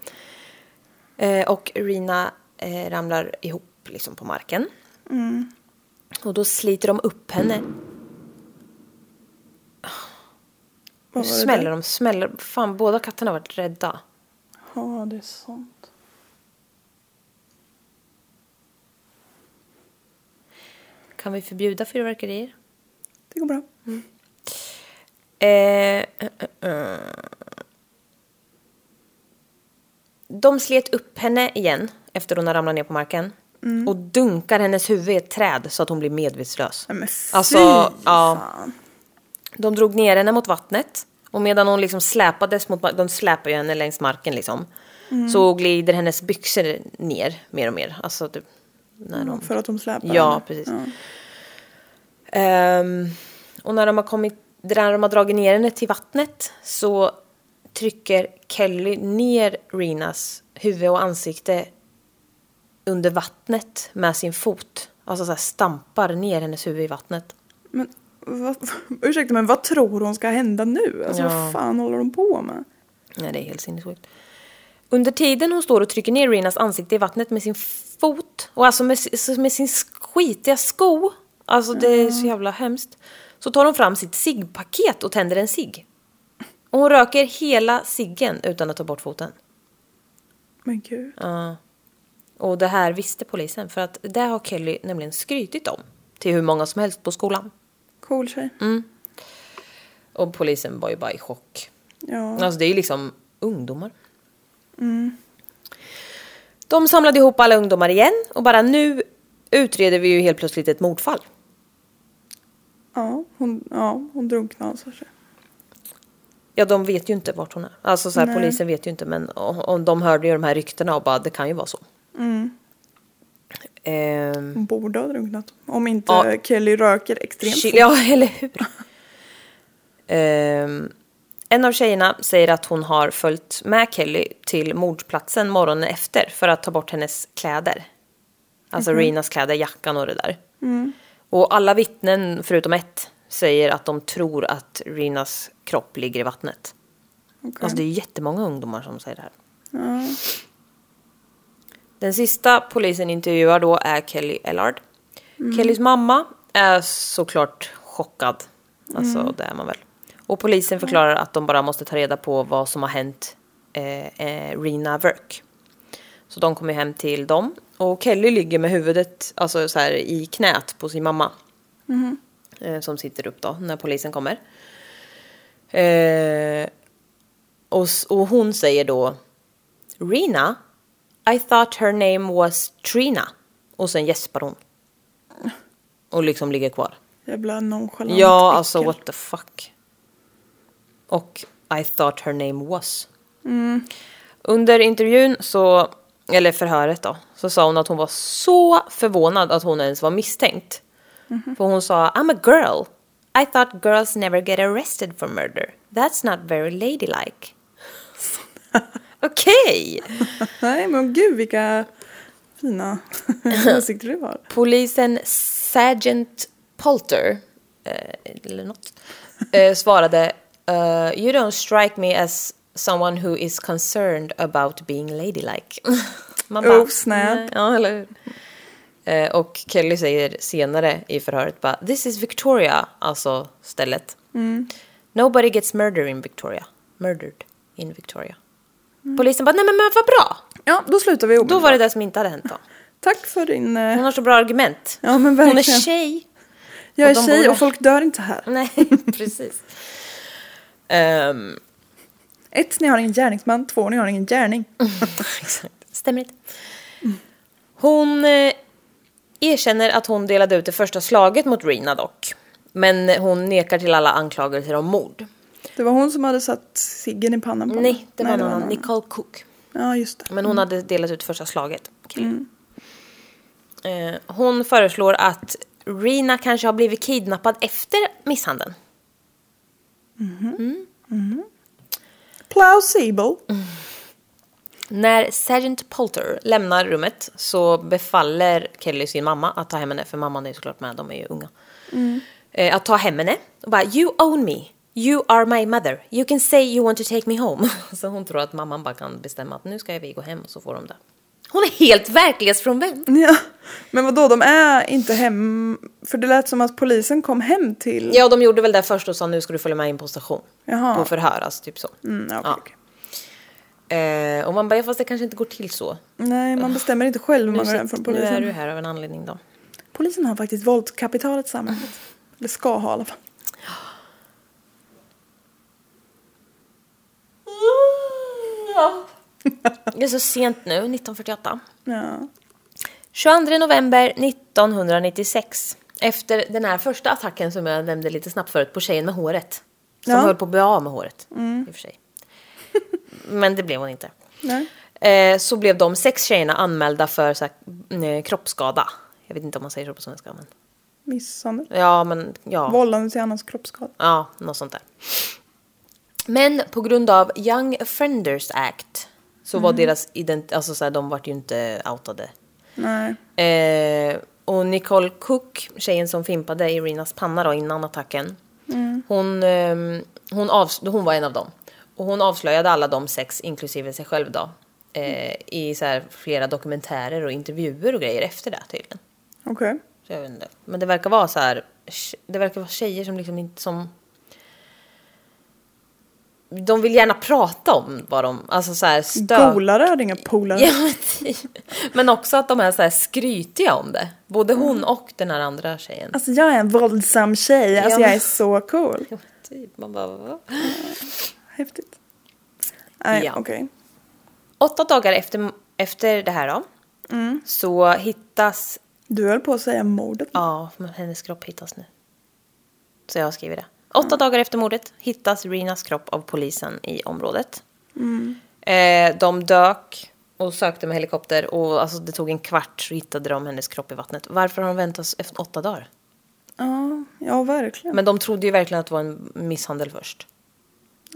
A: Eh, och Rina eh, ramlar ihop liksom på marken.
B: mm.
A: Och då sliter de upp henne. Nu
B: Vad var det
A: smäller
B: där?
A: de, smäller. Fan, båda katterna har varit rädda.
B: Ja, det är sånt.
A: Kan vi förbjuda fyrverkerier?
B: Det går bra.
A: Eh, eh, eh, eh. De slet upp henne igen efter hon har ramlat ner på marken.
B: Mm.
A: Och dunkar hennes huvud i ett träd så att hon blir medvetslös.
B: Nej men fy
A: Alltså, ja.
B: fan.
A: De drog ner henne mot vattnet och medan hon liksom släpades mot marken, de släpar ju henne längs marken liksom.
B: Mm.
A: Så glider hennes byxor ner mer och mer. Alltså typ när de...
B: För att de släpar
A: Ja,
B: henne.
A: precis.
B: Ja.
A: Ehm, och när de har kommit, när de har dragit ner henne till vattnet så trycker Kelly ner Rinas huvud och ansikte under vattnet med sin fot. Alltså så här stampar ner hennes huvud i vattnet.
B: Men vad, ursäkta men vad tror hon ska hända nu? Alltså
A: Ja.
B: vad fan håller de på med?
A: Nej, det är helt sinnessjukt. Under tiden hon står och trycker ner Rinas ansikte i vattnet med sin fot och alltså med, s- med sin skitiga sko. Alltså det är så jävla hemskt. Så tar hon fram sitt ciggpaket och tänder en cigg. Och hon röker hela ciggen utan att ta bort foten.
B: Men gud.
A: Ja. Och det här visste polisen för att det har Kelly nämligen skrytit om till hur många som helst på skolan.
B: Cool tjej.
A: Mm. Och polisen var ju bara i chock.
B: Ja.
A: Alltså det är ju liksom ungdomar. De samlade ihop alla ungdomar igen och bara nu utreder vi ju helt plötsligt ett mordfall.
B: Ja, hon, ja, hon drunknade alltså.
A: Ja, de vet ju inte vart hon är. Alltså så här,
B: Nej.
A: polisen vet ju inte men o- om de hörde ju de här ryktena och bara det kan ju vara så. Ehm,
B: Mm. Hon borde ha drunknat. Om inte
A: Ja.
B: Kelly röker extremt
A: Shit, Ja, eller hur? Ehm, en av tjejerna säger att hon har följt med Kelly till mordplatsen morgonen efter för att ta bort hennes kläder. Alltså Rinas kläder, jackan och det där. Och alla vittnen, förutom ett, säger att de tror att Rinas kropp ligger i vattnet.
B: Okej.
A: Alltså det är jättemånga ungdomar som säger det här.
B: ja.
A: Den sista polisen intervjuar då är Kelly Ellard. Kellys mamma är såklart chockad. Alltså det är man väl. Och polisen förklarar att de bara måste ta reda på vad som har hänt eh, eh, Rena Verk. Så de kommer hem till dem. Och Kelly ligger med huvudet alltså så här, i knät på sin mamma. Eh, som sitter upp då när polisen kommer. Eh, och, s- och hon säger då Rena, I thought her name was Trina. Och sen gäspar hon. Och liksom ligger kvar.
B: Jävla nonchalant
A: Ja, alltså
B: äckel.
A: what the fuck. Och I thought her name was. Under intervjun så, eller förhöret då, så sa hon att hon var så förvånad att hon ens var misstänkt. För hon sa I'm a girl. I thought girls never get arrested for murder. That's not very ladylike. Okej!
B: Nej men gud vilka fina åsikter du har.
A: Polisen Sergeant Polter, eh, eller något, eh, svarade eh, You don't strike me as someone who is concerned about being ladylike. Man
B: Oh, snap.
A: "Nej." Ja, eller hur? Eh, och Kelly säger senare i förhöret bara This is Victoria, alltså stället. Nobody gets murdered in Victoria. Murdered in Victoria. Polisen bara, nej men, men vad bra!
B: Ja, då slutar vi
A: Då
B: omedelbart.
A: var det det som inte hade hänt då.
B: Tack för din... eh,
A: Hon har så bra argument.
B: Ja men
A: Hon är
B: verkligen.
A: tjej.
B: Jag är
A: och de
B: tjej
A: borde-
B: och folk dör inte här.
A: Nej, precis. Ehm,
B: Ett, ni har ingen gärningsman. Två, ni har ingen gärning.
A: Mm. exakt. Stämmer inte. Hon eh, erkänner att hon delade ut det första slaget mot Rina dock. Men hon nekar till alla anklagelser om mord.
B: Det var hon som hade satt ciggen i pannan på
A: Mm. Nej, det var
B: någon
A: någon annan. Mm.
B: annan.
A: Nicole Cook.
B: Ja, just det.
A: Men hon hade delat ut första slaget. killen. Eh, hon föreslår att Rina kanske har blivit kidnappad efter misshandeln.
B: Plausible.
A: Mm. När Sergeant Polter lämnar rummet så befaller Kelly sin mamma att ta hem henne, för mamman är ju såklart med, de är ju unga.
B: Mm.
A: Eh, Att ta hem henne och bara “You own me, you are my mother, you can say you want to take me home”. Så hon tror att mamman bara kan bestämma att nu ska vi gå hem och så får de det. Hon är helt verklighetsfrånvänd!
B: Ja. Men vadå, de är inte hem... För det lät som att polisen kom hem till...
A: Ja, de gjorde väl det först och sa nu ska du följa med in på station.
B: Jaha.
A: På förhör, alltså typ så.
B: Mm, ja, okej,
A: Ja.
B: okej.
A: Eh, och man bara, ja, fast det kanske inte går till så.
B: Nej, man bestämmer inte själv hur
A: Nu,
B: man går hem
A: sitter,
B: från
A: nu är
B: polisen.
A: du här av en anledning då.
B: Polisen har faktiskt våldskapitalet i samhället. Eller ska ha i alla fall.
A: Det är så sent nu, 1948.
B: Ja.
A: 22 november 1996. Efter den här första attacken som jag nämnde lite snabbt förut på tjejen med håret. Som
B: Ja.
A: höll på att bli av med håret. I och för sig. Men det blev hon inte.
B: Nej.
A: Eh, så blev de sex tjejerna anmälda för så här, mm, kroppsskada. Jag vet inte om man säger så på svenska. Men...
B: Misshandel.
A: Ja, men ja.
B: Vållande till annans kroppsskada.
A: Ja, något sånt där. Men på grund av Young Offenders Act så var deras ident- alltså så här, de vart ju inte outade.
B: Nej.
A: Eh, Och Nicole Cook, tjejen som fimpade Irinas panna då innan attacken. Hon, ehm, hon, avs- hon var en av dem. Och hon avslöjade alla de sex, inklusive sig själv då. Eh, I så här flera dokumentärer och intervjuer och grejer efter det tydligen.
B: Okej.
A: Så jag vet inte. Men det verkar vara så här. Det verkar vara tjejer som liksom inte som... De vill gärna prata om vad de... Alltså så här stök...
B: Polare hade inga polare.
A: Ja, men typ. Men också att de är så här skrytiga om det. Både hon och den här andra tjejen.
B: Alltså jag är en våldsam tjej, alltså
A: Ja.
B: jag är så cool.
A: Ja, men Typ. Man bara, va?
B: Häftigt. Nej,
A: Ja.
B: okej.
A: Åtta dagar efter, efter det här då. Så hittas...
B: Mm. Du höll på att säga mordet.
A: Ja, men hennes kropp hittas nu. Så jag skriver det. Åtta dagar efter mordet hittas Rinas kropp av polisen i området.
B: Mm.
A: Eh, de dök och sökte med helikopter och alltså, det tog en kvart så hittade de hennes kropp i vattnet. Varför har de väntat efter åtta dagar?
B: Ja, ja verkligen.
A: Men de trodde ju verkligen att det var en misshandel först.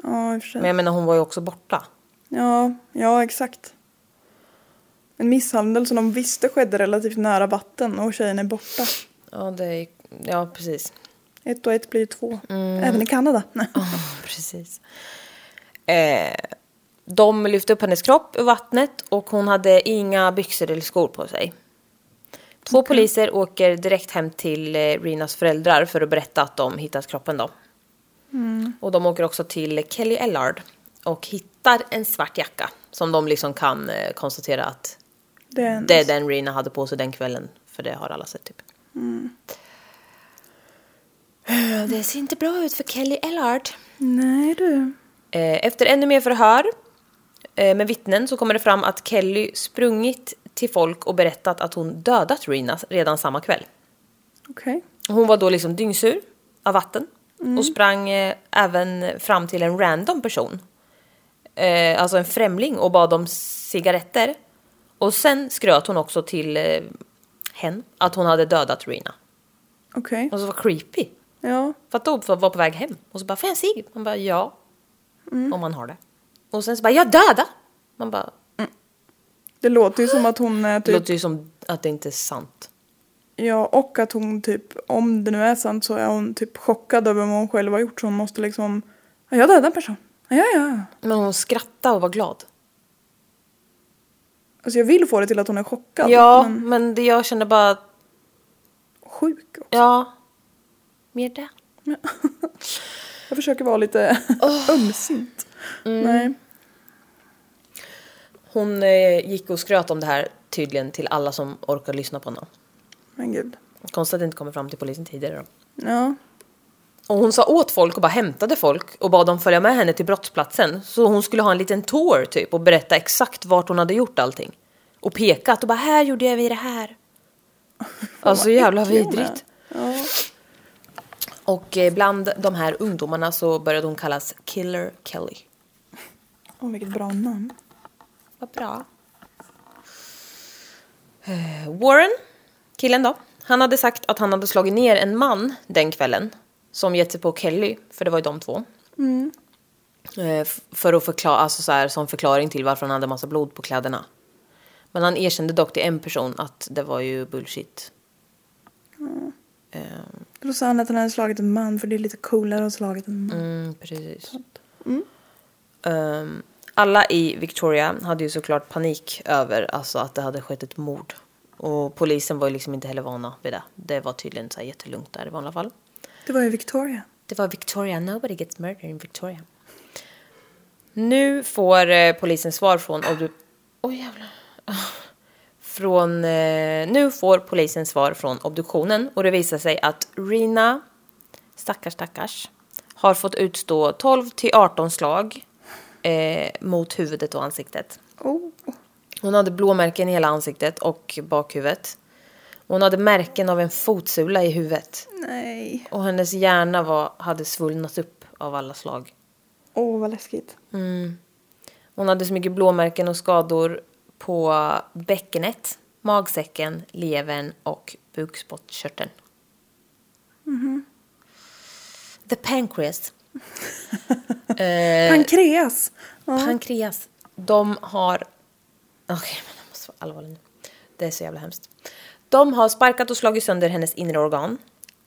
B: Ja, i och för
A: Men
B: sig.
A: jag menar hon var ju också borta.
B: Ja, ja exakt. En misshandel som de visste skedde relativt nära vatten och tjejen är borta.
A: Ja, det är, ja precis.
B: Ett och ett blir ju två.
A: Mm.
B: Även i Kanada. Nej.
A: precis. Eh, de lyfte upp hennes kropp ur vattnet och hon hade inga byxor eller skor på sig. Två poliser åker direkt hem till eh, Rinas föräldrar för att berätta att de hittat kroppen då. Och de åker också till Kelly Ellard och hittar en svart jacka som de liksom kan eh, konstatera att
B: Det är en...
A: det är den Rina hade på sig den kvällen, för det har alla sett typ. Eh, Det ser inte bra ut för Kelly Ellard.
B: Nej du.
A: Eh, Efter ännu mer förhör eh, med vittnen så kommer det fram att Kelly sprungit till folk och berättat att hon dödat Rina redan samma kväll.
B: Okej.
A: Hon var då liksom dyngsur av vatten och sprang eh, även fram till en random person. Eh, alltså en främling och bad om cigaretter. Och sen skröt hon också till eh, hen att hon hade dödat Rina.
B: Okej.
A: Och så var creepy.
B: Ja.
A: För att då var på väg hem och så bara, får jag en cigg? Man bara, ja. Om man har det. Och sen så bara, jag döda! Man bara,
B: Det låter ju som att hon är
A: det
B: typ...
A: låter ju som att det inte är sant.
B: Ja, och att hon typ, om det nu är sant så är hon typ chockad över vad hon själv har gjort så hon måste liksom, ja jag dödade en person. Ja, ja, ja.
A: Men hon skrattade och var glad.
B: Alltså jag vill få det till att hon är chockad.
A: ja,
B: Men
A: men det, jag kände bara,
B: sjuk.
A: ja. Mer det.
B: Jag försöker vara lite ömsint.
A: Mm.
B: Nej.
A: Hon eh, gick och skröt om det här tydligen till alla som orkar lyssna på henne.
B: Men gud.
A: Konstigt att det inte kommer fram till polisen tidigare då.
B: Ja.
A: Och hon sa åt folk och bara hämtade folk och bad dem följa med henne till brottsplatsen. Så hon skulle ha en liten tour typ och berätta exakt vart hon hade gjort allting. Och pekat och bara här gjorde jag vi det här. alltså jävla
B: äcklig hon
A: vidrigt.
B: är. Ja.
A: Och eh, bland de här ungdomarna så började hon kallas Killer Kelly.
B: Åh, vilket bra namn.
A: Vad bra. Eh, Warren, killen då, han hade sagt att han hade slagit ner en man den kvällen som gett sig på Kelly, för det var ju de två.
B: Mm.
A: Eh, f- för att förklara, alltså så här, som förklaring till varför han hade massa blod på kläderna. Men han erkände dock till en person att det var ju bullshit. Eh,
B: Då sa han att han hade slagit en man för det är lite coolare att ha slagit en man.
A: Mm, precis. Ehm, alla i Victoria hade ju såklart panik över alltså, att det hade skett ett mord. Och polisen var ju liksom inte heller vana vid det. Det var tydligen så här jättelugnt där i vanliga fall.
B: Det var ju Victoria.
A: Det var Victoria. Nobody gets murdered in Victoria. Nu får eh, polisen svar från... Oj oh, jävlar. Från, eh, nu får polisen svar från obduktionen och det visar sig att Rina, stackars stackars, har fått utstå 12 till 18 slag eh, mot huvudet och ansiktet.
B: Oh.
A: Hon hade blåmärken i hela ansiktet och bakhuvudet. Hon hade märken av en fotsula i huvudet.
B: Nej.
A: Och hennes hjärna var, hade svullnat upp av alla slag.
B: Åh, vad läskigt.
A: Hon hade så mycket blåmärken och skador på bäckenet, magsäcken, levern och bukspottkörteln. The pancreas. eh,
B: Pankreas! Ja.
A: Pankreas. De har... Okej, men jag måste vara allvarlig nu. Det är så jävla hemskt. De har sparkat och slagit sönder hennes inre organ.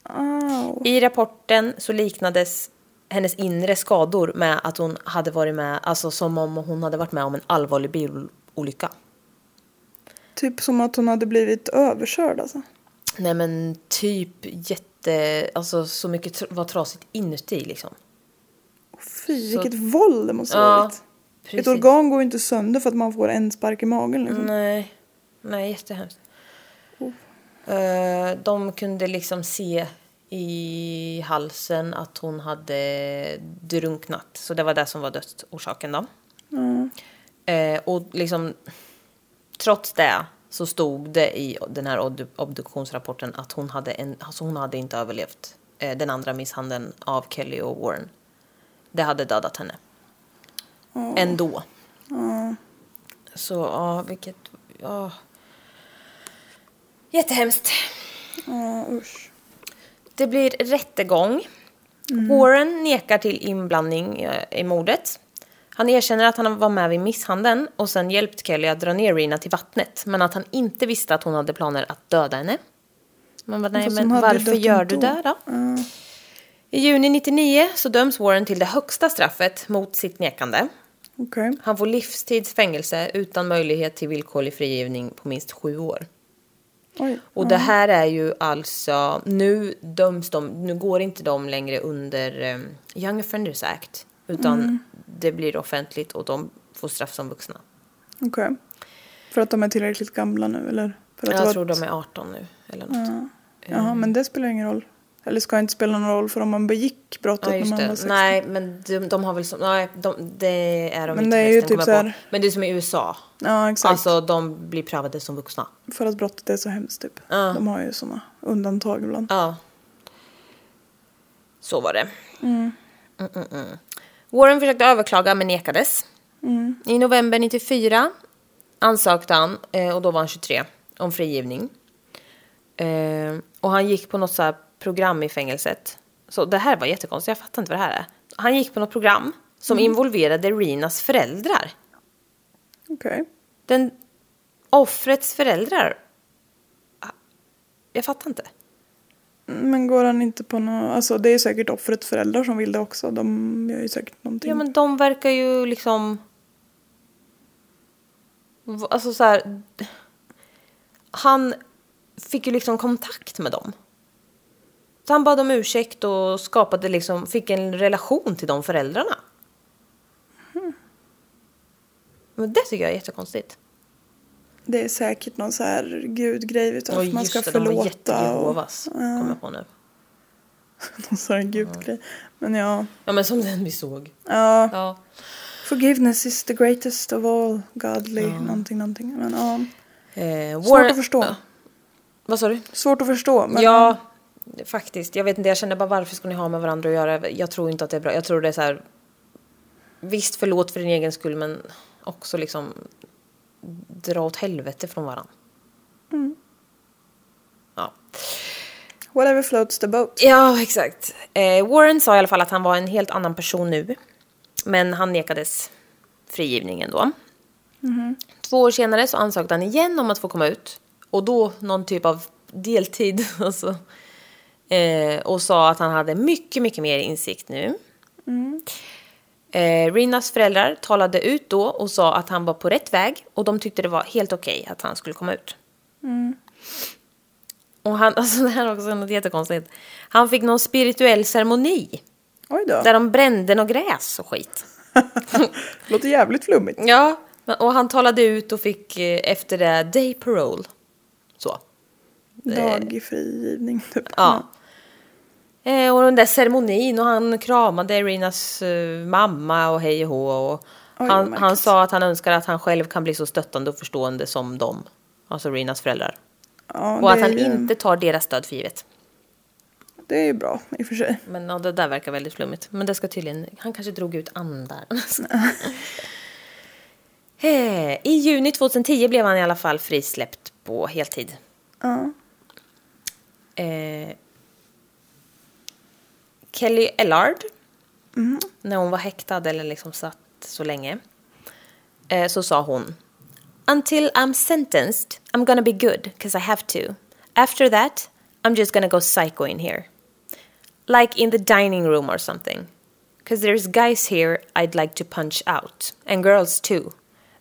B: Au.
A: I rapporten så liknades hennes inre skador med att hon hade varit med, alltså som om hon hade varit med om en allvarlig bilolycka.
B: Typ som att hon hade blivit överkörd alltså.
A: Nej men typ jätte, alltså så mycket tr- var trasigt inuti liksom.
B: Åh, Fy, vilket våld det måste ha
A: Ja,
B: varit. Ett
A: precis. Mm.
B: organ går ju inte sönder för att man får en spark i magen liksom.
A: Nej, nej jättehemskt.
B: Oh.
A: Eh, De kunde liksom se i halsen att hon hade drunknat. Så det var det som var dödsorsaken då. Eh, Och liksom trots det så stod det i den här obdu- obduktionsrapporten att hon hade, en, alltså hon hade inte överlevt eh, den andra misshandeln av Kelly och Warren. Det hade dödat henne. Ändå. Så ja, vilket... Ja. Jättehemskt.
B: Ja, usch.
A: Det blir rättegång.
B: Mm.
A: Warren nekar till inblandning eh, i mordet. Han erkänner att han var med vid misshandeln och sen hjälpt Kelly att dra ner Rina till vattnet. Men att han inte visste att hon hade planer att döda henne. Man bara, nej
B: Fast
A: men
B: hon hade
A: varför
B: dött
A: gör du
B: ändå."
A: det då? I juni 99 så döms Warren till det högsta straffet mot sitt nekande.
B: Okej.
A: Han får livstids fängelse utan möjlighet till villkorlig frigivning på minst sju år.
B: Oj.
A: Och det här är ju alltså, nu döms de, nu går inte de längre under um, Young Offenders Act. Utan
B: Mm.
A: det blir offentligt och de får straff som vuxna.
B: Okej. För att de är tillräckligt gamla nu eller? För att det
A: Jag
B: var
A: tror
B: ett-
A: de är 18 nu eller något.
B: Ja. Jaha, men det spelar ingen roll. Eller ska inte spela någon roll för om man begick brottet
A: Ja
B: när
A: just
B: man Typ
A: det.
B: var 16.
A: Nej men de, de har väl som, nej de, det är de
B: Men
A: inte
B: det är ju
A: förresten,
B: typ
A: kommer
B: så
A: jag på.
B: här-
A: Men det är som i USA.
B: Ja, exakt.
A: Alltså de blir prövade som vuxna.
B: För att brottet är så hemskt typ.
A: Ja.
B: De har ju såna undantag ibland.
A: Ja. Så var det. Mm, mm, mm. Warren försökte överklaga men nekades. I november 94 ansökte han, eh, och då var han 23, om frigivning. Eh, Och han gick på något så här program i fängelset. Så det här var jättekonstigt, jag fattar inte vad det här är. Han gick på något program som involverade Rinas föräldrar.
B: Okej.
A: Den, offrets föräldrar. Ah, Jag fattar inte.
B: Men går han inte på något... Alltså det är säkert offrets föräldrar som vill det också. De gör ju säkert någonting.
A: Ja men de verkar ju liksom... V- Alltså så här... Han fick ju liksom kontakt med dem. Så han bad om ursäkt och skapade liksom, fick en relation till de föräldrarna. Men det tycker jag är jättekonstigt.
B: Det är säkert någon så här gudgrej vet du,
A: Och
B: att man
A: just
B: ska
A: det, de var
B: förlåta. och-
A: jättejehovas, kommer jag på nu.
B: Någon sån här gudgrej. Men ja.
A: Ja men som den vi såg.
B: ja.
A: Ja.
B: Forgiveness is the greatest of all godly någonting, någonting. Men ja.
A: Eh,
B: Svårt
A: Warren-
B: att förstå.
A: Ja. Vad sa du?
B: Svårt att förstå. Men
A: Ja, faktiskt. Jag vet inte, jag känner bara varför ska ni ha med varandra att göra? Jag tror inte att det är bra. Jag tror det är så här. Visst, förlåt för din egen skull, men också liksom dra åt helvete från varandra. Ja.
B: Whatever floats the boat.
A: ja, exakt. Eh, Warren sa i alla fall att han var en helt annan person nu. Men han nekades frigivningen då. Två år senare så ansökte han igen om att få komma ut. Och då någon typ av deltid. Alltså. Eh, och sa att han hade mycket, mycket mer insikt nu. Eh, Rinas föräldrar talade ut då och sa att han var på rätt väg. Och de tyckte det var helt okej att han skulle komma ut. Och han, alltså det här är också något jättekonstigt. Han fick någon spirituell ceremoni.
B: Oj då.
A: Där de brände något gräs och skit.
B: Låter jävligt flummigt.
A: Ja, men- och han talade ut och fick eh, efter det day parole. Så.
B: Dagfrigivning typ.
A: Ja.
B: Mm.
A: Eh, och den där ceremonin och han kramade Rinas eh, mamma och hej och hå. Och
B: vad
A: han, han
B: märkligt.
A: sa att han önskar att han själv kan bli så stöttande och förstående som de, alltså Rinas föräldrar.
B: Ja,
A: Och att
B: det är
A: han
B: ju-
A: inte tar deras stöd för givet.
B: Det är ju bra i och för sig.
A: Men ja, det där verkar väldigt flummigt. Men det ska tydligen... Han kanske drog ut andar. Eh, I juni 2010 blev han i alla fall frisläppt på heltid.
B: Ja.
A: Eh, Kelly Ellard, när hon var häktad eller liksom satt så länge, eh, så sa hon Until I'm sentenced I'm gonna be good, cause I have to. After that, I'm just gonna go psycho in here. Like in the dining room or something. Cause there's guys here I'd like to punch out. And girls too.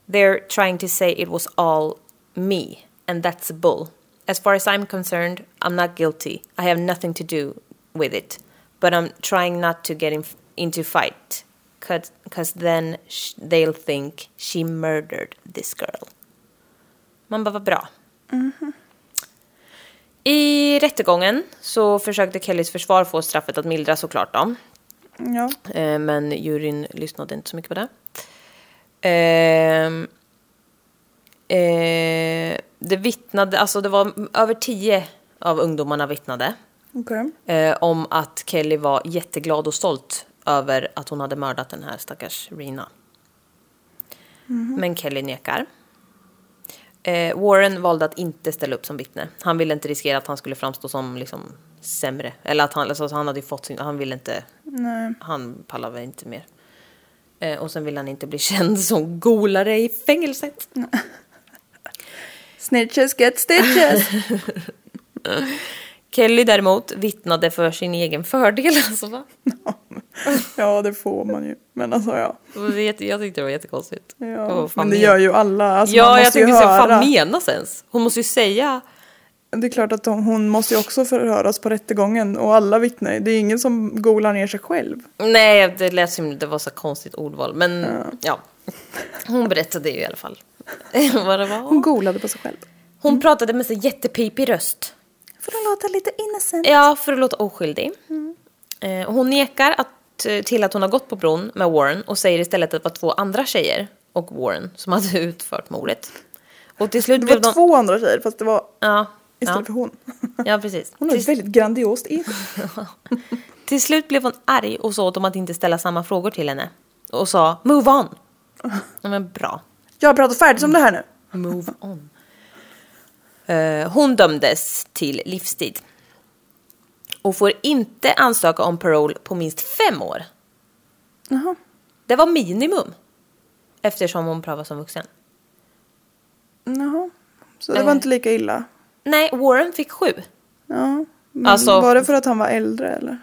A: They're trying to say it was all me. And that's bull. As far as I'm concerned, I'm not guilty. I have nothing to do with it. But I'm trying not to get in, into fight. Cause, cause then sh- they'll think she murdered this girl. Man bara, vad bra. I rättegången så försökte Kellys försvar få straffet att mildra såklart då.
B: Ja.
A: Eh, Men juryn lyssnade inte så mycket på det. Ehm, eh, det vittnade, alltså det var över tio av ungdomarna vittnade
B: Okej.
A: eh, om att Kelly var jätteglad och stolt över att hon hade mördat den här stackars Rina. Men Kelly nekar. Eh, Warren valde att inte ställa upp som vittne. Han ville inte riskera att han skulle framstå som liksom sämre. Eller att han, alltså, han hade ju fått sin, han ville inte,
B: Nej.
A: han pallade väl inte mer. Eh, och sen ville han inte bli känd som golare i fängelset.
B: Snitches get stitches.
A: Kelly däremot vittnade för sin egen fördel. Alltså, va?
B: ja, det får man ju. Men alltså ja.
A: Det var jätte- Jag tyckte det var jättekonstigt.
B: ja.
A: Och vad fan
B: men det
A: men-
B: gör ju alla. Alltså, man
A: ja,
B: måste
A: jag
B: ju
A: tänkte säga,
B: höra.
A: vad fan menas ens? Hon måste ju säga...
B: Det är klart att hon, hon måste ju också förhöras på rättegången och alla vittnar ju. Det är ingen som golar ner sig själv.
A: Nej, det lät som det var så konstigt ordval, men ja. Hon berättade ju i alla fall vad det
B: Hon
A: var.
B: golade på sig själv.
A: Hon pratade med så jättepipig röst.
B: För att låta lite innocent.
A: Ja, för att låta oskyldig. Eh, och Hon nekar att, eh, till att hon har gått på bron med Warren och säger istället att det var två andra tjejer och Warren som hade utfört mordet. Och till slut
B: Det
A: blev
B: var
A: de...
B: två andra tjejer fast det var
A: Ja, ja,
B: istället för hon.
A: ja, precis.
B: Hon har
A: Till-
B: ett väldigt grandiost ego.
A: Till slut blev hon arg och sa åt dem att inte ställa samma frågor till henne. Och sa “Move on!” ja, men bra.
B: Jag har pratat färdigt om det här nu.
A: Move on. Eh, hon dömdes till livstid. Och får inte ansöka om parole på minst fem år.
B: Jaha.
A: Det var minimum. Eftersom hon prövas som vuxen.
B: Jaha. Så det var
A: Eh.
B: inte lika illa.
A: Nej, Warren fick sju.
B: Ja. Men
A: Alltså-
B: Var det för att han var äldre eller?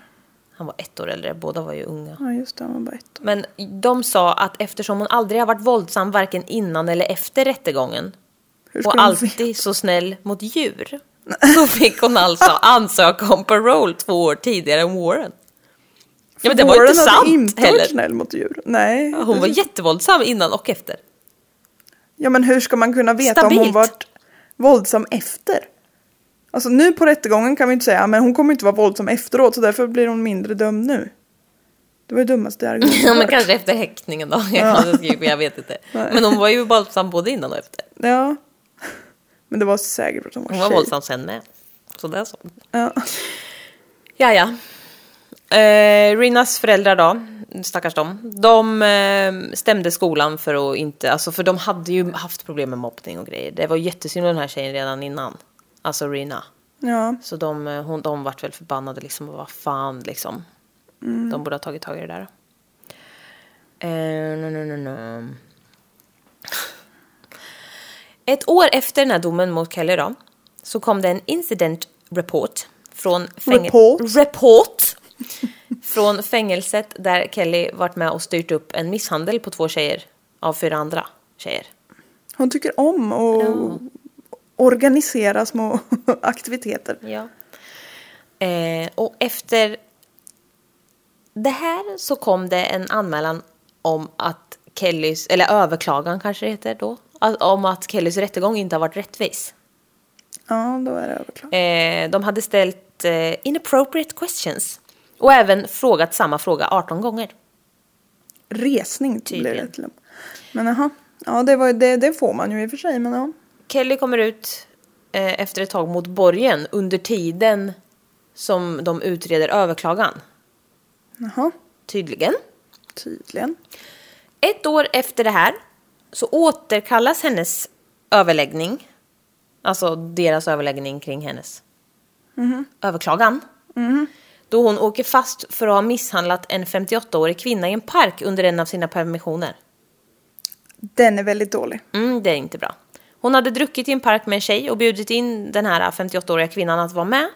A: Han var ett år äldre, båda var ju unga.
B: Ja just det, han var bara ett år.
A: Men de sa att eftersom hon aldrig har varit våldsam varken innan eller efter rättegången
B: Hur ska
A: och
B: de se-
A: alltid så snäll mot djur så fick hon alltså ansöka om parole två år tidigare än Warren. Ja men det var ju
B: Warren
A: inte
B: hade
A: sant
B: inte varit
A: heller.
B: snäll mot djur. Nej.
A: Hon var jättevåldsam innan och efter.
B: Ja men hur ska man kunna veta om hon
A: Stabilt.
B: varit våldsam efter? Alltså nu på rättegången kan vi inte säga men hon kommer inte vara våldsam efteråt så därför blir hon mindre dömd nu. Det var ju dummaste argumentet
A: Ja,
B: jag
A: men
B: hört.
A: kanske efter häktningen då. Jag, hade skrivit, jag vet inte. Men hon var ju våldsam både innan och efter.
B: Ja. Men det var säkert för att hon var
A: Hon var
B: tjej.
A: våldsam sen med. Så det är så.
B: Ja.
A: Ja, ja. Eh, Rinas föräldrar då, stackars dem, de eh, stämde skolan för att inte, alltså för de hade ju haft problem med mobbning och grejer. Det var jättesynd om den här tjejen redan innan, alltså Rina.
B: Ja.
A: Så de, eh, hon, de vart väl förbannade liksom, och vad fan liksom.
B: Mm.
A: De borde ha tagit tag i det där. Eh, no, no, no, no. Ett år efter den här domen mot Kelly då, så kom det en incident report från, fängel-
B: Report.
A: report från fängelset där Kelly varit med och styrt upp en misshandel på två tjejer av fyra andra tjejer.
B: Hon tycker om att organisera små aktiviteter.
A: Ja. Eh, och efter det här så kom det en anmälan om att Kellys, eller överklagan kanske det heter då, att- om att Kellys rättegång inte har varit rättvis.
B: Ja, då är det överklart.
A: Eh, de hade ställt eh, inappropriate questions och även frågat samma fråga 18 gånger.
B: Resning blir det
A: typ. Tydligen.
B: till och med. Men jaha. Ja, det, var, ju- det, det får man ju i och för sig. Men ja.
A: Kelly kommer ut eh, efter ett tag mot borgen under tiden som de utreder överklagan,
B: Jaha,
A: tydligen.
B: tydligen.
A: Ett år efter det här så återkallas hennes överläggning. Alltså deras överläggning kring hennes överklagan. Då hon åker fast för att ha misshandlat en 58-årig kvinna i en park under en av sina permissioner.
B: Den är väldigt dålig.
A: Mm, det är inte bra. Hon hade druckit i en park med en tjej och bjudit in den här 58-åriga kvinnan att vara med.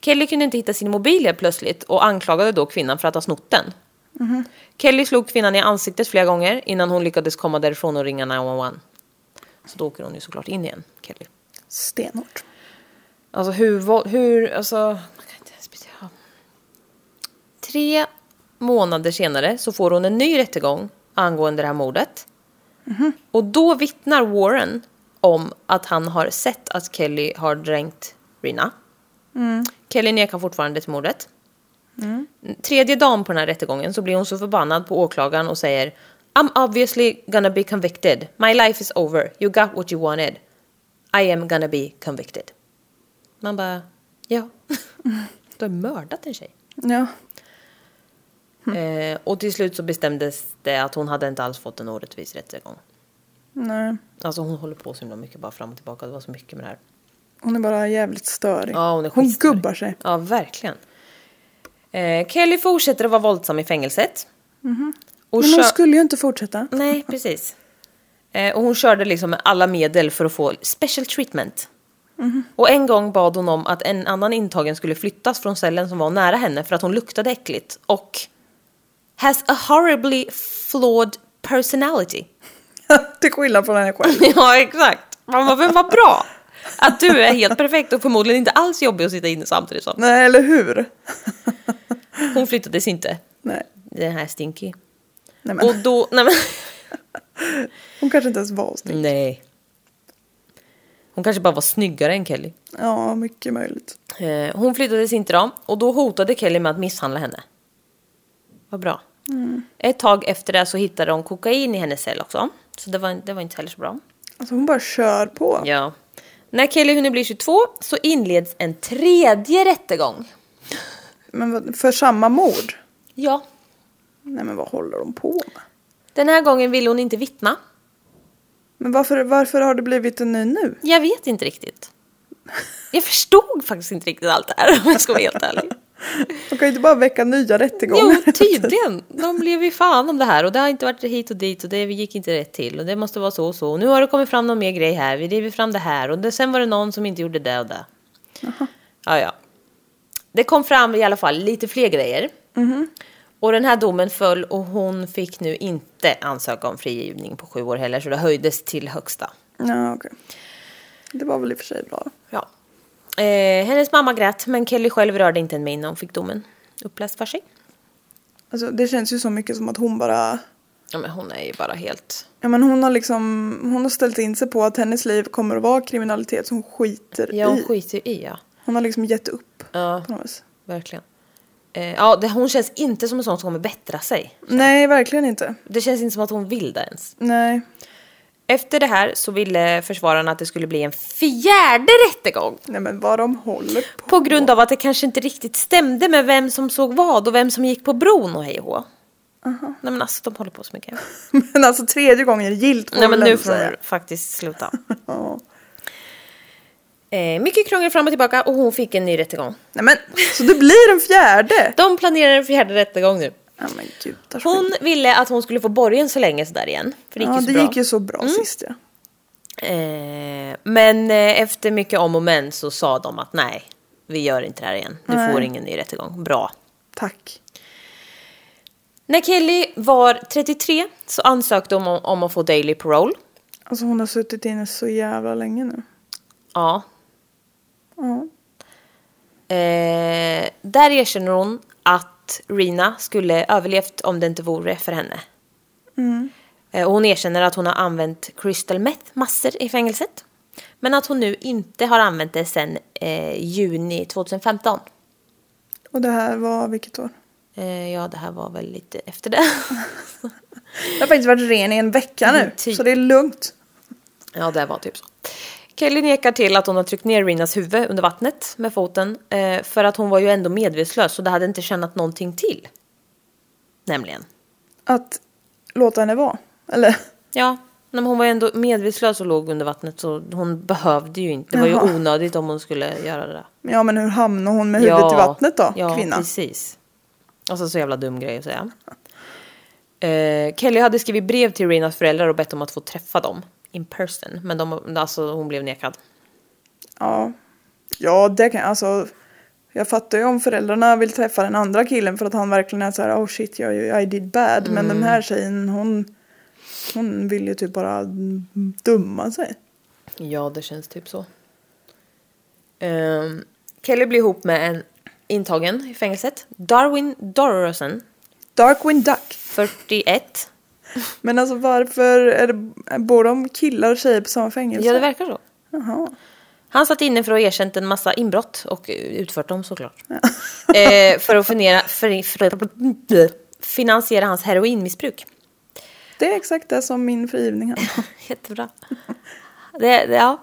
A: Kelly kunde inte hitta sin mobil helt plötsligt och anklagade då kvinnan för att ha snott den. Kelly slog kvinnan i ansiktet flera gånger innan hon lyckades komma därifrån och ringa 911. Så då åker hon ju såklart in igen, Kelly.
B: Stenhårt.
A: Alltså hur, våld- hur alltså, man kan inte ens bete- Tre månader senare så får hon en ny rättegång angående det här mordet. Och då vittnar Warren om att han har sett att Kelly har dränkt Rina. Kelly nekar fortfarande till mordet. Tredje dagen på den här rättegången så blir hon så förbannad på åklagaren och säger I'm obviously gonna be convicted. My life is over. You got what you wanted. I am gonna be convicted. Man bara, ja. Du har mördat en tjej.
B: Ja.
A: Eh, och till slut så bestämdes det att hon hade inte alls fått en orättvis rättegång.
B: Nej.
A: Alltså hon håller på så himla mycket bara fram och tillbaka. Det var så mycket med det här.
B: Hon är bara jävligt störig.
A: Ja, hon är
B: hon
A: skitstörig.
B: gubbar sig.
A: Ja, verkligen. Eh, Kelly fortsätter att vara våldsam i fängelset. Mm-hmm. Och
B: Men hon
A: kö-
B: skulle ju inte fortsätta.
A: Nej, precis. Eh, och hon körde liksom med alla medel för att få special treatment. Och en gång bad hon om att en annan intagen skulle flyttas från cellen som var nära henne för att hon luktade äckligt och has a horribly flawed personality.
B: Till skillnad från henne själv.
A: ja, exakt. Man bara, vem var bra? Att du är helt perfekt och förmodligen inte alls jobbig att sitta inne samtidigt som.
B: Nej, eller hur?
A: Hon flyttades inte.
B: Nej.
A: Den här Stinky.
B: Nej men,
A: Och då, nej men.
B: hon kanske inte ens var snygg.
A: Nej. Hon kanske bara var snyggare än Kelly.
B: Ja, mycket möjligt.
A: Eh, Hon flyttades inte då och då hotade Kelly med att misshandla henne. Vad bra. Ett tag efter det så hittade de kokain i hennes cell också. Så det var, det var inte heller så bra.
B: Alltså hon bara kör på.
A: Ja. När Kelly hinner bli 22 så inleds en tredje rättegång.
B: Men vad- för samma mord?
A: Ja.
B: Nej men vad håller de på med?
A: Den här gången ville hon inte vittna.
B: Men varför, varför har det blivit en ny nu?
A: Jag vet inte riktigt. Jag förstod faktiskt inte riktigt allt det här om jag ska vara helt ärlig.
B: De kan ju inte bara väcka nya rättegångar.
A: Jo, tydligen. De blev ju fan om det här och det har inte varit hit och dit och det gick inte rätt till och det måste vara så och så. Och nu har det kommit fram någon mer grej här. Vi driver fram det här och det, sen var det någon som inte gjorde det och det. Ja, ja. Det kom fram i alla fall lite fler grejer. Och den här domen föll och hon fick nu inte ansöka om frigivning på sju år heller så det höjdes till högsta.
B: Ja, okej. Det var väl i och för sig bra.
A: Ja. Eh, hennes mamma grät men Kelly själv rörde inte en min när hon fick domen uppläst för sig.
B: Alltså, det känns ju så mycket som att hon bara...
A: Ja, men hon är ju bara helt
B: Ja, men hon har liksom hon har ställt in sig på att hennes liv kommer att vara kriminalitet som hon skiter
A: Ja, hon
B: i.
A: skiter ju i ja.
B: Hon har liksom gett upp.
A: Ja.
B: På något vis.
A: Verkligen. Eh, ja, det, hon känns inte som en sån som kommer bättra sig.
B: Nej, verkligen inte.
A: Det känns inte som att hon vill det ens.
B: Nej.
A: Efter det här så ville försvararna att det skulle bli en fjärde rättegång.
B: Nej, men vad de håller på.
A: På grund av att det kanske inte riktigt stämde med vem som såg vad och vem som gick på bron och hej och hå. Nej men alltså de håller på så mycket.
B: Men alltså tredje gången är det gillt får
A: Nej
B: vi
A: men
B: väl
A: nu
B: ändå
A: får
B: säga.
A: de faktiskt sluta.
B: Ja.
A: Eh, mycket krångel fram och tillbaka och hon fick en ny rättegång.
B: Nej men, så det blir en fjärde!
A: De planerar en fjärde rättegång nu.
B: Ja men gudars
A: Hon ville att hon skulle få borgen så länge sådär igen. För det gick
B: Ja,
A: ju så
B: det
A: bra. Mm.
B: gick ju så bra sist ja.
A: Eh, men eh, efter mycket om och men så sa de att nej, vi gör inte det här igen. Du
B: Nej.
A: får ingen ny rättegång. Bra.
B: Tack.
A: När Kelly var 33 så ansökte hon om, om att få daily parole.
B: Alltså hon har suttit inne så jävla länge nu.
A: Ja.
B: Ja.
A: Eh, där erkänner hon att Rina skulle överlevt om det inte vore för henne.
B: Mm.
A: Eh, och hon erkänner att hon har använt crystal meth massor i fängelset. Men att hon nu inte har använt det sedan eh, juni 2015.
B: Och det här var vilket år?
A: Eh, ja, det här var väl lite efter det.
B: Jag har faktiskt varit ren i en vecka nu.
A: Mm, typ.
B: Så det är lugnt.
A: Ja, det var typ så. Kelly nekar till att hon har tryckt ner Rinas huvud under vattnet med foten eh, för att hon var ju ändå medvetslös så det hade inte tjänat någonting till. Nämligen.
B: Att låta henne vara. Eller?
A: Ja, nej, men hon var ju ändå medvetslös och låg under vattnet så hon behövde ju inte. Det var
B: Jaha.
A: ju onödigt om hon skulle göra det. där.
B: Ja men hur hamnar hon med huvudet i vattnet då?
A: Ja,
B: kvinna.
A: precis. Alltså så jävla dum grej att säga. Eh, Kelly hade skrivit brev till Rinas föräldrar och bett om att få träffa dem in person. Men de, alltså, hon blev nekad.
B: Ja. Ja, det kan jag alltså. Jag fattar ju om föräldrarna vill träffa den andra killen för att han verkligen är så här oh shit jag I did bad. Men
A: Mm.
B: den här tjejen hon, hon vill ju typ bara dumma sig.
A: Ja, det känns typ så. Ehm, Kelly blir ihop med en intagen i fängelset. Darwin Dorrosen,
B: Darkwing Duck.
A: 41.
B: Men alltså varför är det, bor de killar och tjejer på samma fängelse?
A: Ja, det verkar så.
B: Jaha.
A: Han satt inne för att ha erkänt en massa inbrott och eh, utfört dem såklart. eh, för att fundera, för, för, finansiera hans heroinmissbruk.
B: Det är exakt det som min frigivning handlar om.
A: Jättebra. Det, det, ja.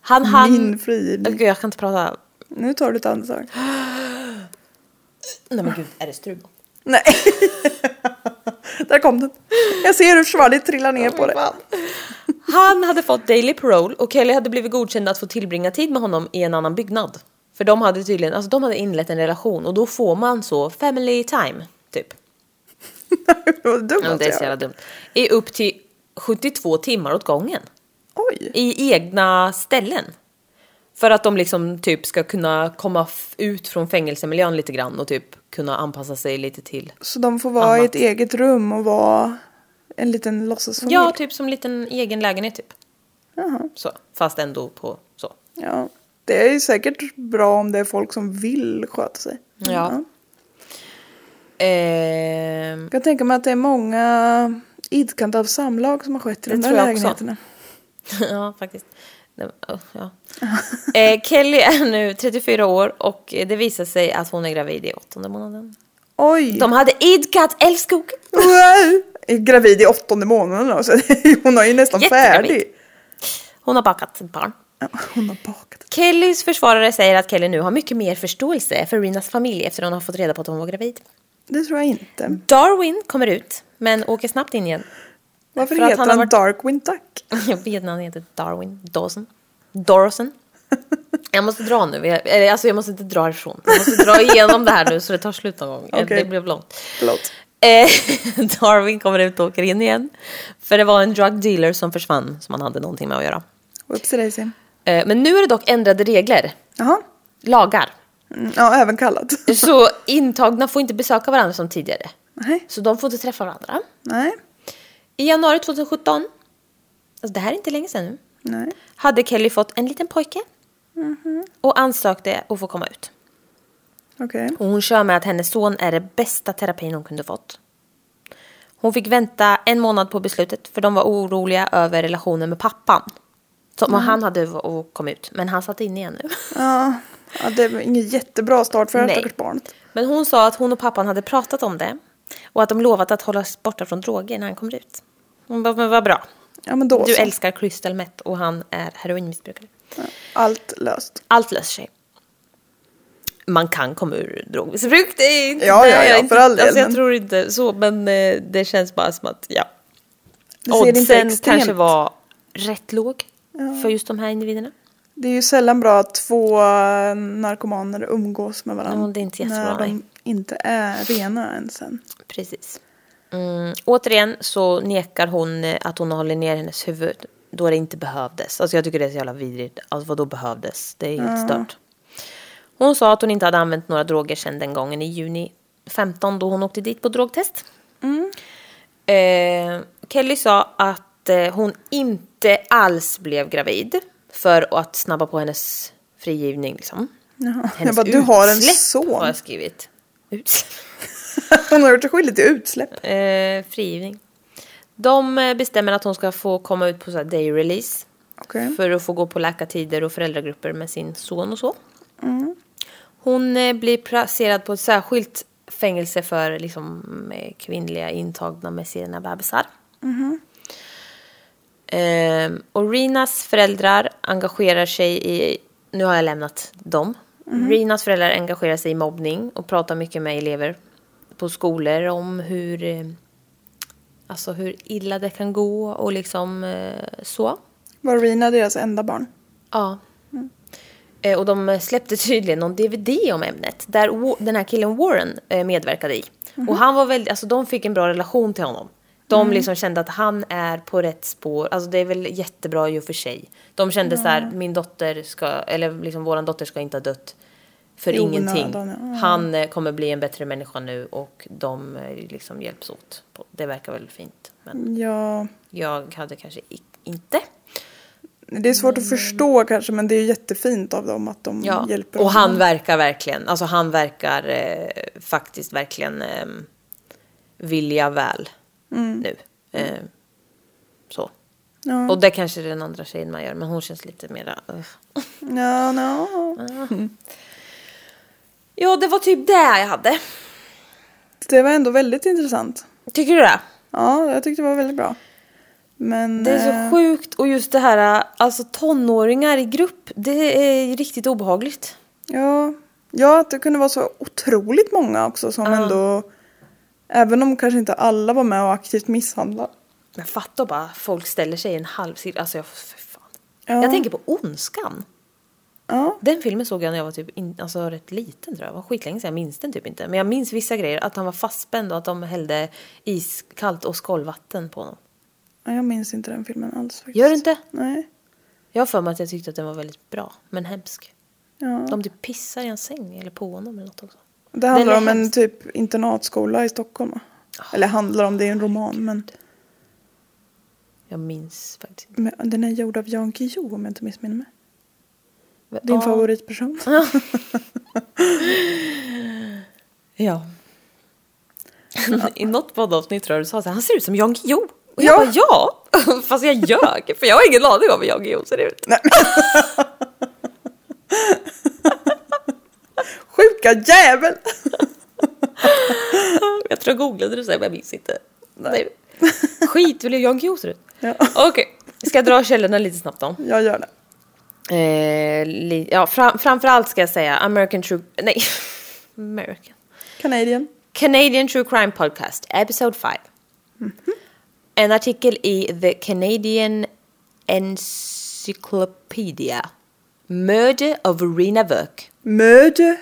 A: Han hann...
B: Min
A: Åh,
B: frigivning.
A: Gud, jag kan inte prata.
B: Nu tar du ett andetag.
A: Nej men gud, är det strul?
B: Nej. Där kom den. Jag ser hur svalget trillar ner på dig.
A: Han hade fått daily parole och Kelly hade blivit godkänd att få tillbringa tid med honom i en annan byggnad. För de hade tydligen, alltså de hade inlett en relation och då får man så family time, typ.
B: Vad dumt
A: Ja,
B: att
A: det är så jävla
B: jag
A: dumt. I upp till 72 timmar åt gången.
B: Oj.
A: I egna ställen. För att de liksom typ ska kunna komma f- ut från fängelsemiljön lite grann och typ kunna anpassa sig lite till.
B: Så de får vara i ett eget rum och vara en liten låtsasfamilj?
A: Ja, typ som en liten egen lägenhet typ.
B: Jaha.
A: Så, fast ändå på så.
B: Ja. Det är ju säkert bra om det är folk som vill sköta sig.
A: Ja. Ehm,
B: Jag kan tänka mig att det är många idkande av samlag som har skett i
A: Det
B: de där
A: tror jag
B: lägenheterna.
A: ja, faktiskt. Nej, men, oh, Ja. Eh, Kelly är nu 34 år och eh, det visar sig att hon är gravid i åttonde månaden.
B: Oj!
A: De hade idkat älskog.
B: Wow! Är gravid i åttonde månaden då, så hon är ju nästan
A: Jättegravid.
B: färdig.
A: Hon har bakat ett barn.
B: Ja, Hon har bakat.
A: Kellys försvarare säger att Kelly nu har mycket mer förståelse för Rinas familj efter hon har fått reda på att hon var gravid.
B: Det tror jag inte.
A: Darwin kommer ut, men åker snabbt in igen.
B: Varför
A: För att
B: heter han,
A: han har varit-
B: Darkwing Duck?
A: Jag vet inte, han heter Darwin Dawson. Dawson. Jag måste dra nu, jag- eller, alltså jag måste inte dra ifrån. Jag måste dra igenom det här nu så det tar slut någon gång.
B: Okej.
A: Det blev långt.
B: Förlåt.
A: Eh, Darwin kommer ut och åker in igen. För det var en drug dealer som försvann som han hade någonting med att göra.
B: Whoopsie daisy.
A: Eh, men nu är det dock ändrade regler,
B: Jaha.
A: lagar.
B: Mm, Ja, även kallat.
A: Så intagna får inte besöka varandra som tidigare.
B: Nej.
A: Så de får inte träffa varandra.
B: Nej.
A: I januari 2017, alltså det här är inte länge sedan nu,
B: Nej.
A: hade Kelly fått en liten pojke och ansökte att få komma ut.
B: Okej.
A: Och hon kör med att hennes son är det bästa terapin hon kunde fått. Hon fick vänta en månad på beslutet för de var oroliga över relationen med pappan. Som han hade v- och kom ut, men han satt inne igen nu.
B: Ja. ja, det var ingen jättebra start för det här
A: Nej.
B: stackars barnet.
A: Men hon sa att hon och pappan hade pratat om det och att de lovat att hålla sig borta från droger när han kommer ut. Hon bara, men vad bra.
B: Ja, men då
A: Du
B: så.
A: älskar crystal meth och han är heroinmissbrukare.
B: Allt löst.
A: Allt löser sig. Man kan komma ur drogmissbruk, det är inte...
B: Ja, ja,
A: jag
B: ja,
A: är
B: för
A: inte,
B: all del,
A: Alltså jag
B: men-
A: tror inte så, men eh, det känns bara som att, ja.
B: Det ser inte
A: Oddsen
B: extremt-
A: kanske var rätt låg för just de här individerna.
B: Det är ju sällan bra att två eh, narkomaner umgås med varandra.
A: Ja, det är inte jättebra,
B: När de
A: nej.
B: inte är rena än sen.
A: Precis. Mm. Återigen så nekar hon eh, att hon håller ner hennes huvud då det inte behövdes. Alltså jag tycker det är så jävla vidrigt. Alltså vadå behövdes? Det är helt stört. Hon sa att hon inte hade använt några droger sedan den gången i juni 15 då hon åkte dit på drogtest.
B: Mm.
A: Eh, Kelly sa att eh, hon inte alls blev gravid för att snabba på hennes frigivning. Liksom.
B: Jaha. Jag
A: Hennes
B: bara, du har en
A: utsläpp alltså. har
B: son.
A: jag skrivit. Utsläpp.
B: Hon har gjort sig skyldig till utsläpp.
A: Eh, frigivning. De eh, bestämmer att hon ska få komma ut på så här day release.
B: Okej.
A: För att få gå på läkartider och föräldragrupper med sin son och så. Hon eh, blir placerad på ett särskilt fängelse för liksom, eh, kvinnliga intagna med sina bebisar. Ehm, och Rinas föräldrar engagerar sig i, nu har jag lämnat dem. Rinas föräldrar engagerar sig i mobbning och pratar mycket med elever på skolor om hur, eh, alltså hur illa det kan gå och liksom eh, så.
B: Var Rina deras enda barn?
A: Ja. Eh, Och de släppte tydligen någon DVD om ämnet där
B: Mhm.
A: Wa- den här killen Warren eh, medverkade i. Och han var väldigt, alltså de fick en bra relation till honom. De
B: Mm.
A: liksom kände att han är på rätt spår. Alltså det är väl jättebra ju för sig. De kände så
B: Mm.
A: här, min dotter ska, eller liksom våran dotter ska inte ha dött för
B: I onödan,
A: ingenting.
B: ja.
A: Han eh, kommer bli en bättre människa nu och de eh, liksom hjälps åt. Det verkar väl fint. Men
B: Ja,
A: jag hade kanske i- inte.
B: det är svårt att förstå kanske men det är jättefint av dem att de
A: Ja.
B: hjälper
A: Och
B: honom.
A: han verkar verkligen, alltså han verkar eh, faktiskt verkligen eh, vilja väl
B: Mm.
A: nu. Eh, så.
B: Ja,
A: Och det kanske den andra tjejen man gör, men hon känns lite mera... eh.
B: ja, ja.
A: Ja, det var typ det jag hade.
B: Det var ändå väldigt intressant.
A: Tycker du det?
B: Ja, jag tyckte det var väldigt bra. Men...
A: Det är
B: eh,
A: så sjukt och just det här, alltså tonåringar i grupp, det är riktigt obehagligt.
B: Ja. ja, att det kunde vara så otroligt många också som ändå... Även om kanske inte alla var med och aktivt misshandlade.
A: Men fatta bara, folk ställer sig i en halvcirkel, alltså jag, för fan.
B: Ja.
A: Jag tänker på Ondskan.
B: Ja,
A: Den filmen såg jag när jag var typ in, alltså rätt liten tror jag. Det var skitlänge sedan, jag minns den typ inte. Men jag minns vissa grejer, att han var fastspänd och att de hällde iskallt och skållvatten på honom.
B: Ja, jag minns inte den filmen alls faktiskt.
A: Gör du inte?
B: Nej.
A: Jag har för mig att jag tyckte att den var väldigt bra, men hemsk.
B: Ja.
A: De typ pissar i hans säng eller på honom eller något också.
B: Det handlar
A: Den är Ah.
B: om en
A: hemskt.
B: typ internatskola i Stockholm va? Eller handlar om, det är en roman men,
A: Jag minns faktiskt inte.
B: men den är gjord av Jan Guillou om jag inte missminner mig.
A: Men-
B: Din
A: ja.
B: favoritperson.
A: Ja. I något poddavsnitt tror jag du sa så här, han ser ut som Jan Guillou. Och
B: Ja.
A: jag bara ja, fast jag ljög för jag har ingen aning om hur Jan Guillou ser ut.
B: Sjuka jävel!
A: Jag tror jag googlade det så här, men jag minns inte.
B: Nej.
A: Nej. Skit, hur Jan Guillou ser ut.
B: Ja,
A: Okej, ska jag dra källorna lite snabbt då?
B: jag gör det.
A: Eh, li- ja, fram, framförallt ska jag säga American True... Nej. American.
B: Canadian.
A: Canadian True Crime Podcast, Episode 5. Mm-hmm. En artikel i The Canadian Encyclopedia. Murder of Rena Verk.
B: Murder.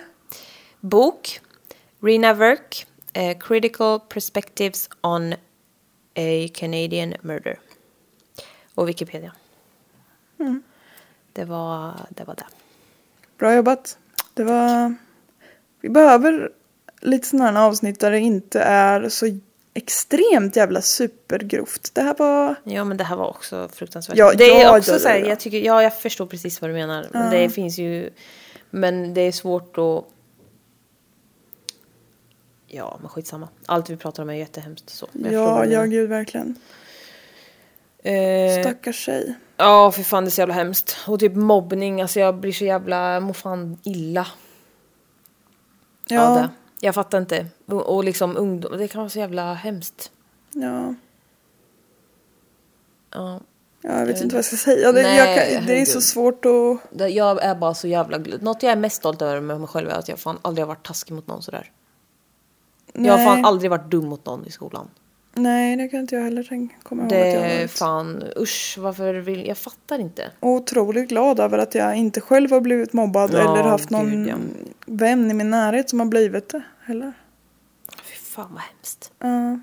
A: Bok Rena Verk, eh, Critical Perspectives on a Canadian Murder. Och Wikipedia.
B: Mm.
A: Det, var, det var det.
B: Bra jobbat. Det var... Vi behöver lite sådana här avsnitt där det inte är så extremt jävla supergrovt. Det här var...
A: Ja men det här var också fruktansvärt.
B: Ja,
A: det
B: ja,
A: är också
B: ja,
A: så här,
B: ja, ja.
A: jag tycker, ja jag förstår precis vad du menar. Men det finns ju, men det är svårt att... Ja men skitsamma. Allt vi pratar om är jättehemskt så. Men förstår
B: Ja,
A: vad du
B: ja
A: menar.
B: gud verkligen.
A: Eh,
B: Stackars tjej.
A: Ja för fan det är så jävla hemskt. Och typ mobbning, alltså jag blir så jävla, jag mår fan illa. av
B: Ja,
A: det. Jag fattar inte. Och, och liksom ungdom, det kan vara så jävla hemskt.
B: ja.
A: Ja.
B: Ja, jag vet inte vad jag ska säga. Det,
A: Eh, Nej,
B: jag kan, det är
A: herregud.
B: så svårt att...
A: Det- Jag är bara så jävla gl- Något jag är mest stolt över med mig själv är att jag fan aldrig har varit taskig mot någon sådär.
B: Nej,
A: Jag har fan aldrig varit dum mot någon i skolan. Nej,
B: Nej, det kan inte jag heller tänka, komma ihåg att jag
A: det
B: har
A: är
B: varit.
A: fan, usch varför vill, jag fattar inte.
B: Och otroligt glad över att jag inte själv har blivit mobbad
A: Ja,
B: eller haft någon
A: gud, ja.
B: vän i min närhet som har blivit det heller.
A: Fy fan vad hemskt.
B: Ja.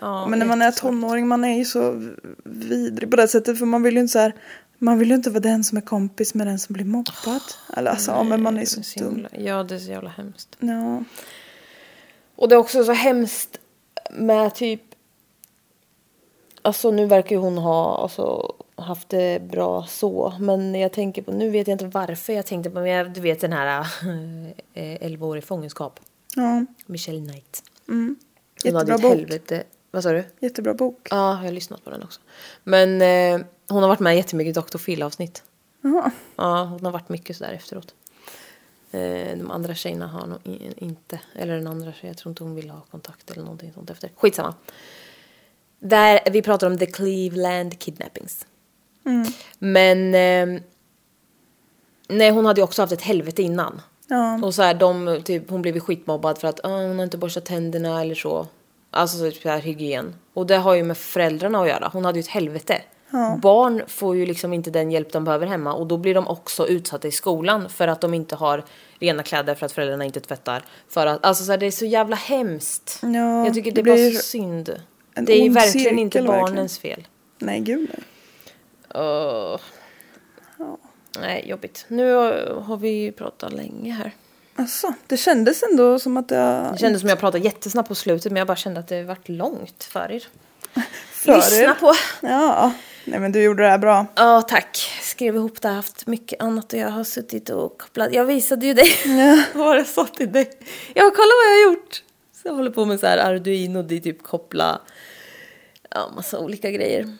A: Ja,
B: Men när man är
A: jättesvårt.
B: tonåring, man är ju så vidrig på det sättet för man vill ju inte så här, man vill ju inte vara den som är kompis med den som blir mobbad. Eller alltså, ja, men man är ju
A: Det är
B: så
A: så
B: dum.
A: jävla- Ja, det är så jävla hemskt.
B: Ja.
A: Och det är också så hemskt med typ... Alltså nu verkar ju hon ha alltså, haft det bra så. Men jag tänker på, nu vet jag inte varför jag tänkte på, men jag, du vet den här eh, 11 år i fångenskap.
B: ja.
A: Michelle Knight.
B: Mm.
A: Hon hade
B: Jättebra
A: ett
B: bok.
A: helvete. Vad sa du?
B: Jättebra bok.
A: Ja, jag har lyssnat på den också. Men eh, hon har varit med jättemycket i Dr. Phil-avsnitt.
B: Ja.
A: Ja, hon har varit mycket sådär efteråt. Eh, de andra tjejerna har nog i- inte, eller den andra tjejen, jag tror inte hon ville ha kontakt eller någonting sånt efter. Skitsamma. Där, vi pratar om The Cleveland Kidnappings.
B: Mm.
A: Men... Eh, nej, hon hade ju också haft ett helvete innan.
B: Ja.
A: Och så här, de, typ, hon blev ju skitmobbad för att "Ah, hon har inte borstat tänderna eller så. Alltså så typ så här hygien. Och det har ju med föräldrarna att göra. Hon hade ju ett helvete. Barn får ju liksom inte den hjälp de behöver hemma och då blir de också utsatta i skolan för att de inte har rena kläder för att föräldrarna inte tvättar. För att, alltså så här, det är så jävla hemskt.
B: Ja,
A: Jag tycker det,
B: det
A: är bara
B: blir-
A: så synd.
B: en
A: Det är ju
B: ond
A: verkligen inte
B: cirkel, verkligen.
A: barnens fel.
B: Nej, gud nej.
A: Åh.
B: Ja.
A: Nej, jobbigt. Nu eh, har vi ju pratat länge här.
B: Alltså, det kändes ändå som att jag...
A: Det kändes som jag pratade jättesnabbt på slutet men jag bara kände att det vart långt för er.
B: För
A: Lyssna
B: er.
A: på.
B: Ja, nej men du gjorde det här bra.
A: Ja, tack. Skrev ihop det. Har haft mycket annat och jag har suttit och kopplat. Jag visade ju dig vad jag sa till dig. Jag kolla vad jag har gjort. Så jag håller på med så här Arduino, det är typ koppla ja, massa olika grejer.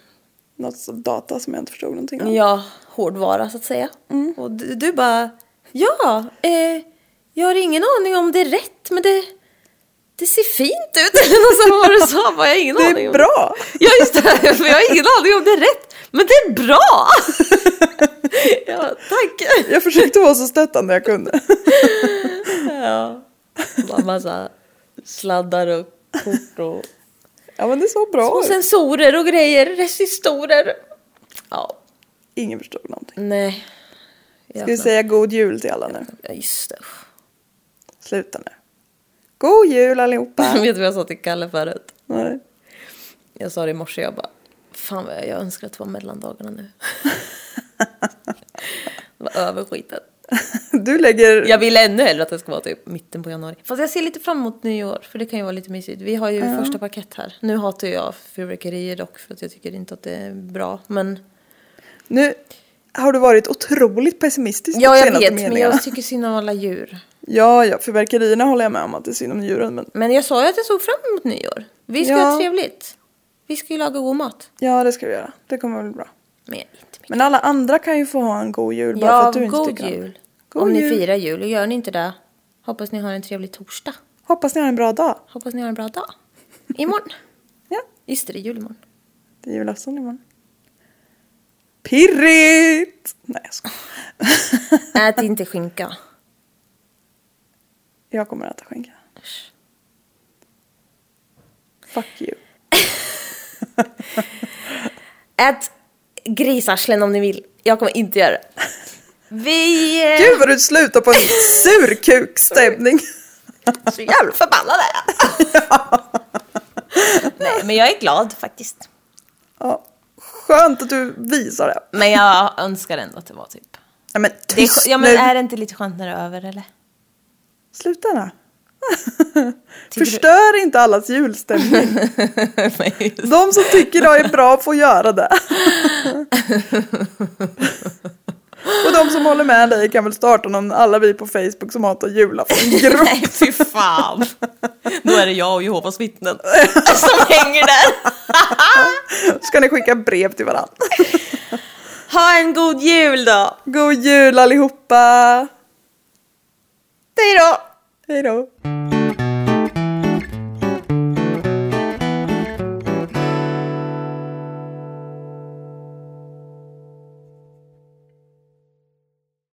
B: Något som data som jag inte förstod någonting
A: Ja, Mm.
B: om.
A: hårdvara så att säga. Och du, du bara, ja, eh, jag har ingen aning om det är rätt men det, det ser fint ut. Eller något sånt vad du sa, bara, jag har ingen
B: Det
A: aning
B: är
A: om
B: bra!
A: Ja just det, för jag har ingen aning om det är rätt. Men det är bra! ja, tack!
B: Jag försökte vara så stöttande jag kunde.
A: Ja. Bara massa sladdar och kort och
B: Ja men det såg bra
A: små
B: ut.
A: sensorer och grejer, resistorer. Ja,
B: Ingen förstod någonting.
A: nej.
B: Ska vi säga god jul till alla nu?
A: Ja, just det.
B: Sluta nu. God jul allihopa!
A: Vet du vad jag sa till Kalle förut?
B: Nej.
A: Jag sa det i morse, jag bara Fan vad jag önskar att det var mellandagarna nu. det var överskitet.
B: Du lägger...
A: Jag vill ännu hellre att det ska vara typ mitten på januari. Fast jag ser lite fram emot nyår för det kan ju vara lite mysigt. Vi har ju första paket här. Nu hatar jag fyrverkerier dock för att jag tycker inte att det är bra. Men
B: Nu har du varit otroligt pessimistisk
A: ja,
B: de
A: jag
B: senaste
A: vet. Men
B: meningarna.
A: jag tycker synd om alla djur.
B: Ja, ja, fyrverkerierna håller jag med om att det är synd om djuren. Men
A: Men jag sa ju att jag såg fram emot nyår. Vi ska
B: Ja.
A: ha trevligt. Vi ska ju laga god mat.
B: ja, det ska vi göra. Det kommer bli bra.
A: Men inte mycket.
B: Men alla andra kan ju få ha en god jul bara för
A: Ja,
B: att du inte
A: god
B: tycker om
A: jul.
B: det. God
A: om
B: jul.
A: ni firar jul och gör ni inte det, hoppas ni har en trevlig torsdag.
B: Hoppas ni har en bra dag.
A: Hoppas ni har en bra dag. Imorgon.
B: Ja,
A: Just det, det är jul imorgon.
B: det är julafton imorgon. Pirrigt! Nej, jag skojar.
A: Ät inte skinka.
B: Jag kommer att äta skinka.
A: Usch.
B: Fuck you.
A: Ät grisarslen om ni vill. Jag kommer inte göra det. Vi eh,
B: Gud vad du slutar på en surkukstämning.
A: är så jävla förbannade. Nej, men jag är glad faktiskt.
B: Ja. Skönt att du visar det.
A: Men jag önskar ändå att det var typ...
B: Ja, men
A: Det
B: tyst
A: är, ja, men
B: nu.
A: är det inte lite skönt när det är över eller?
B: Sluta då.
A: du-
B: Förstör inte allas julstämning.
A: Nej.
B: De som tycker det är bra får göra det. Och de som håller med dig kan väl starta någon alla vi på Facebook som hatar julaftongrupp.
A: Nej, fy fan. Då är det jag och Jehovas vittnen som hänger där.
B: Ska ni skicka brev till varandra.
A: Ha en god jul då.
B: God jul allihopa!
A: Hej då.
B: Hej då!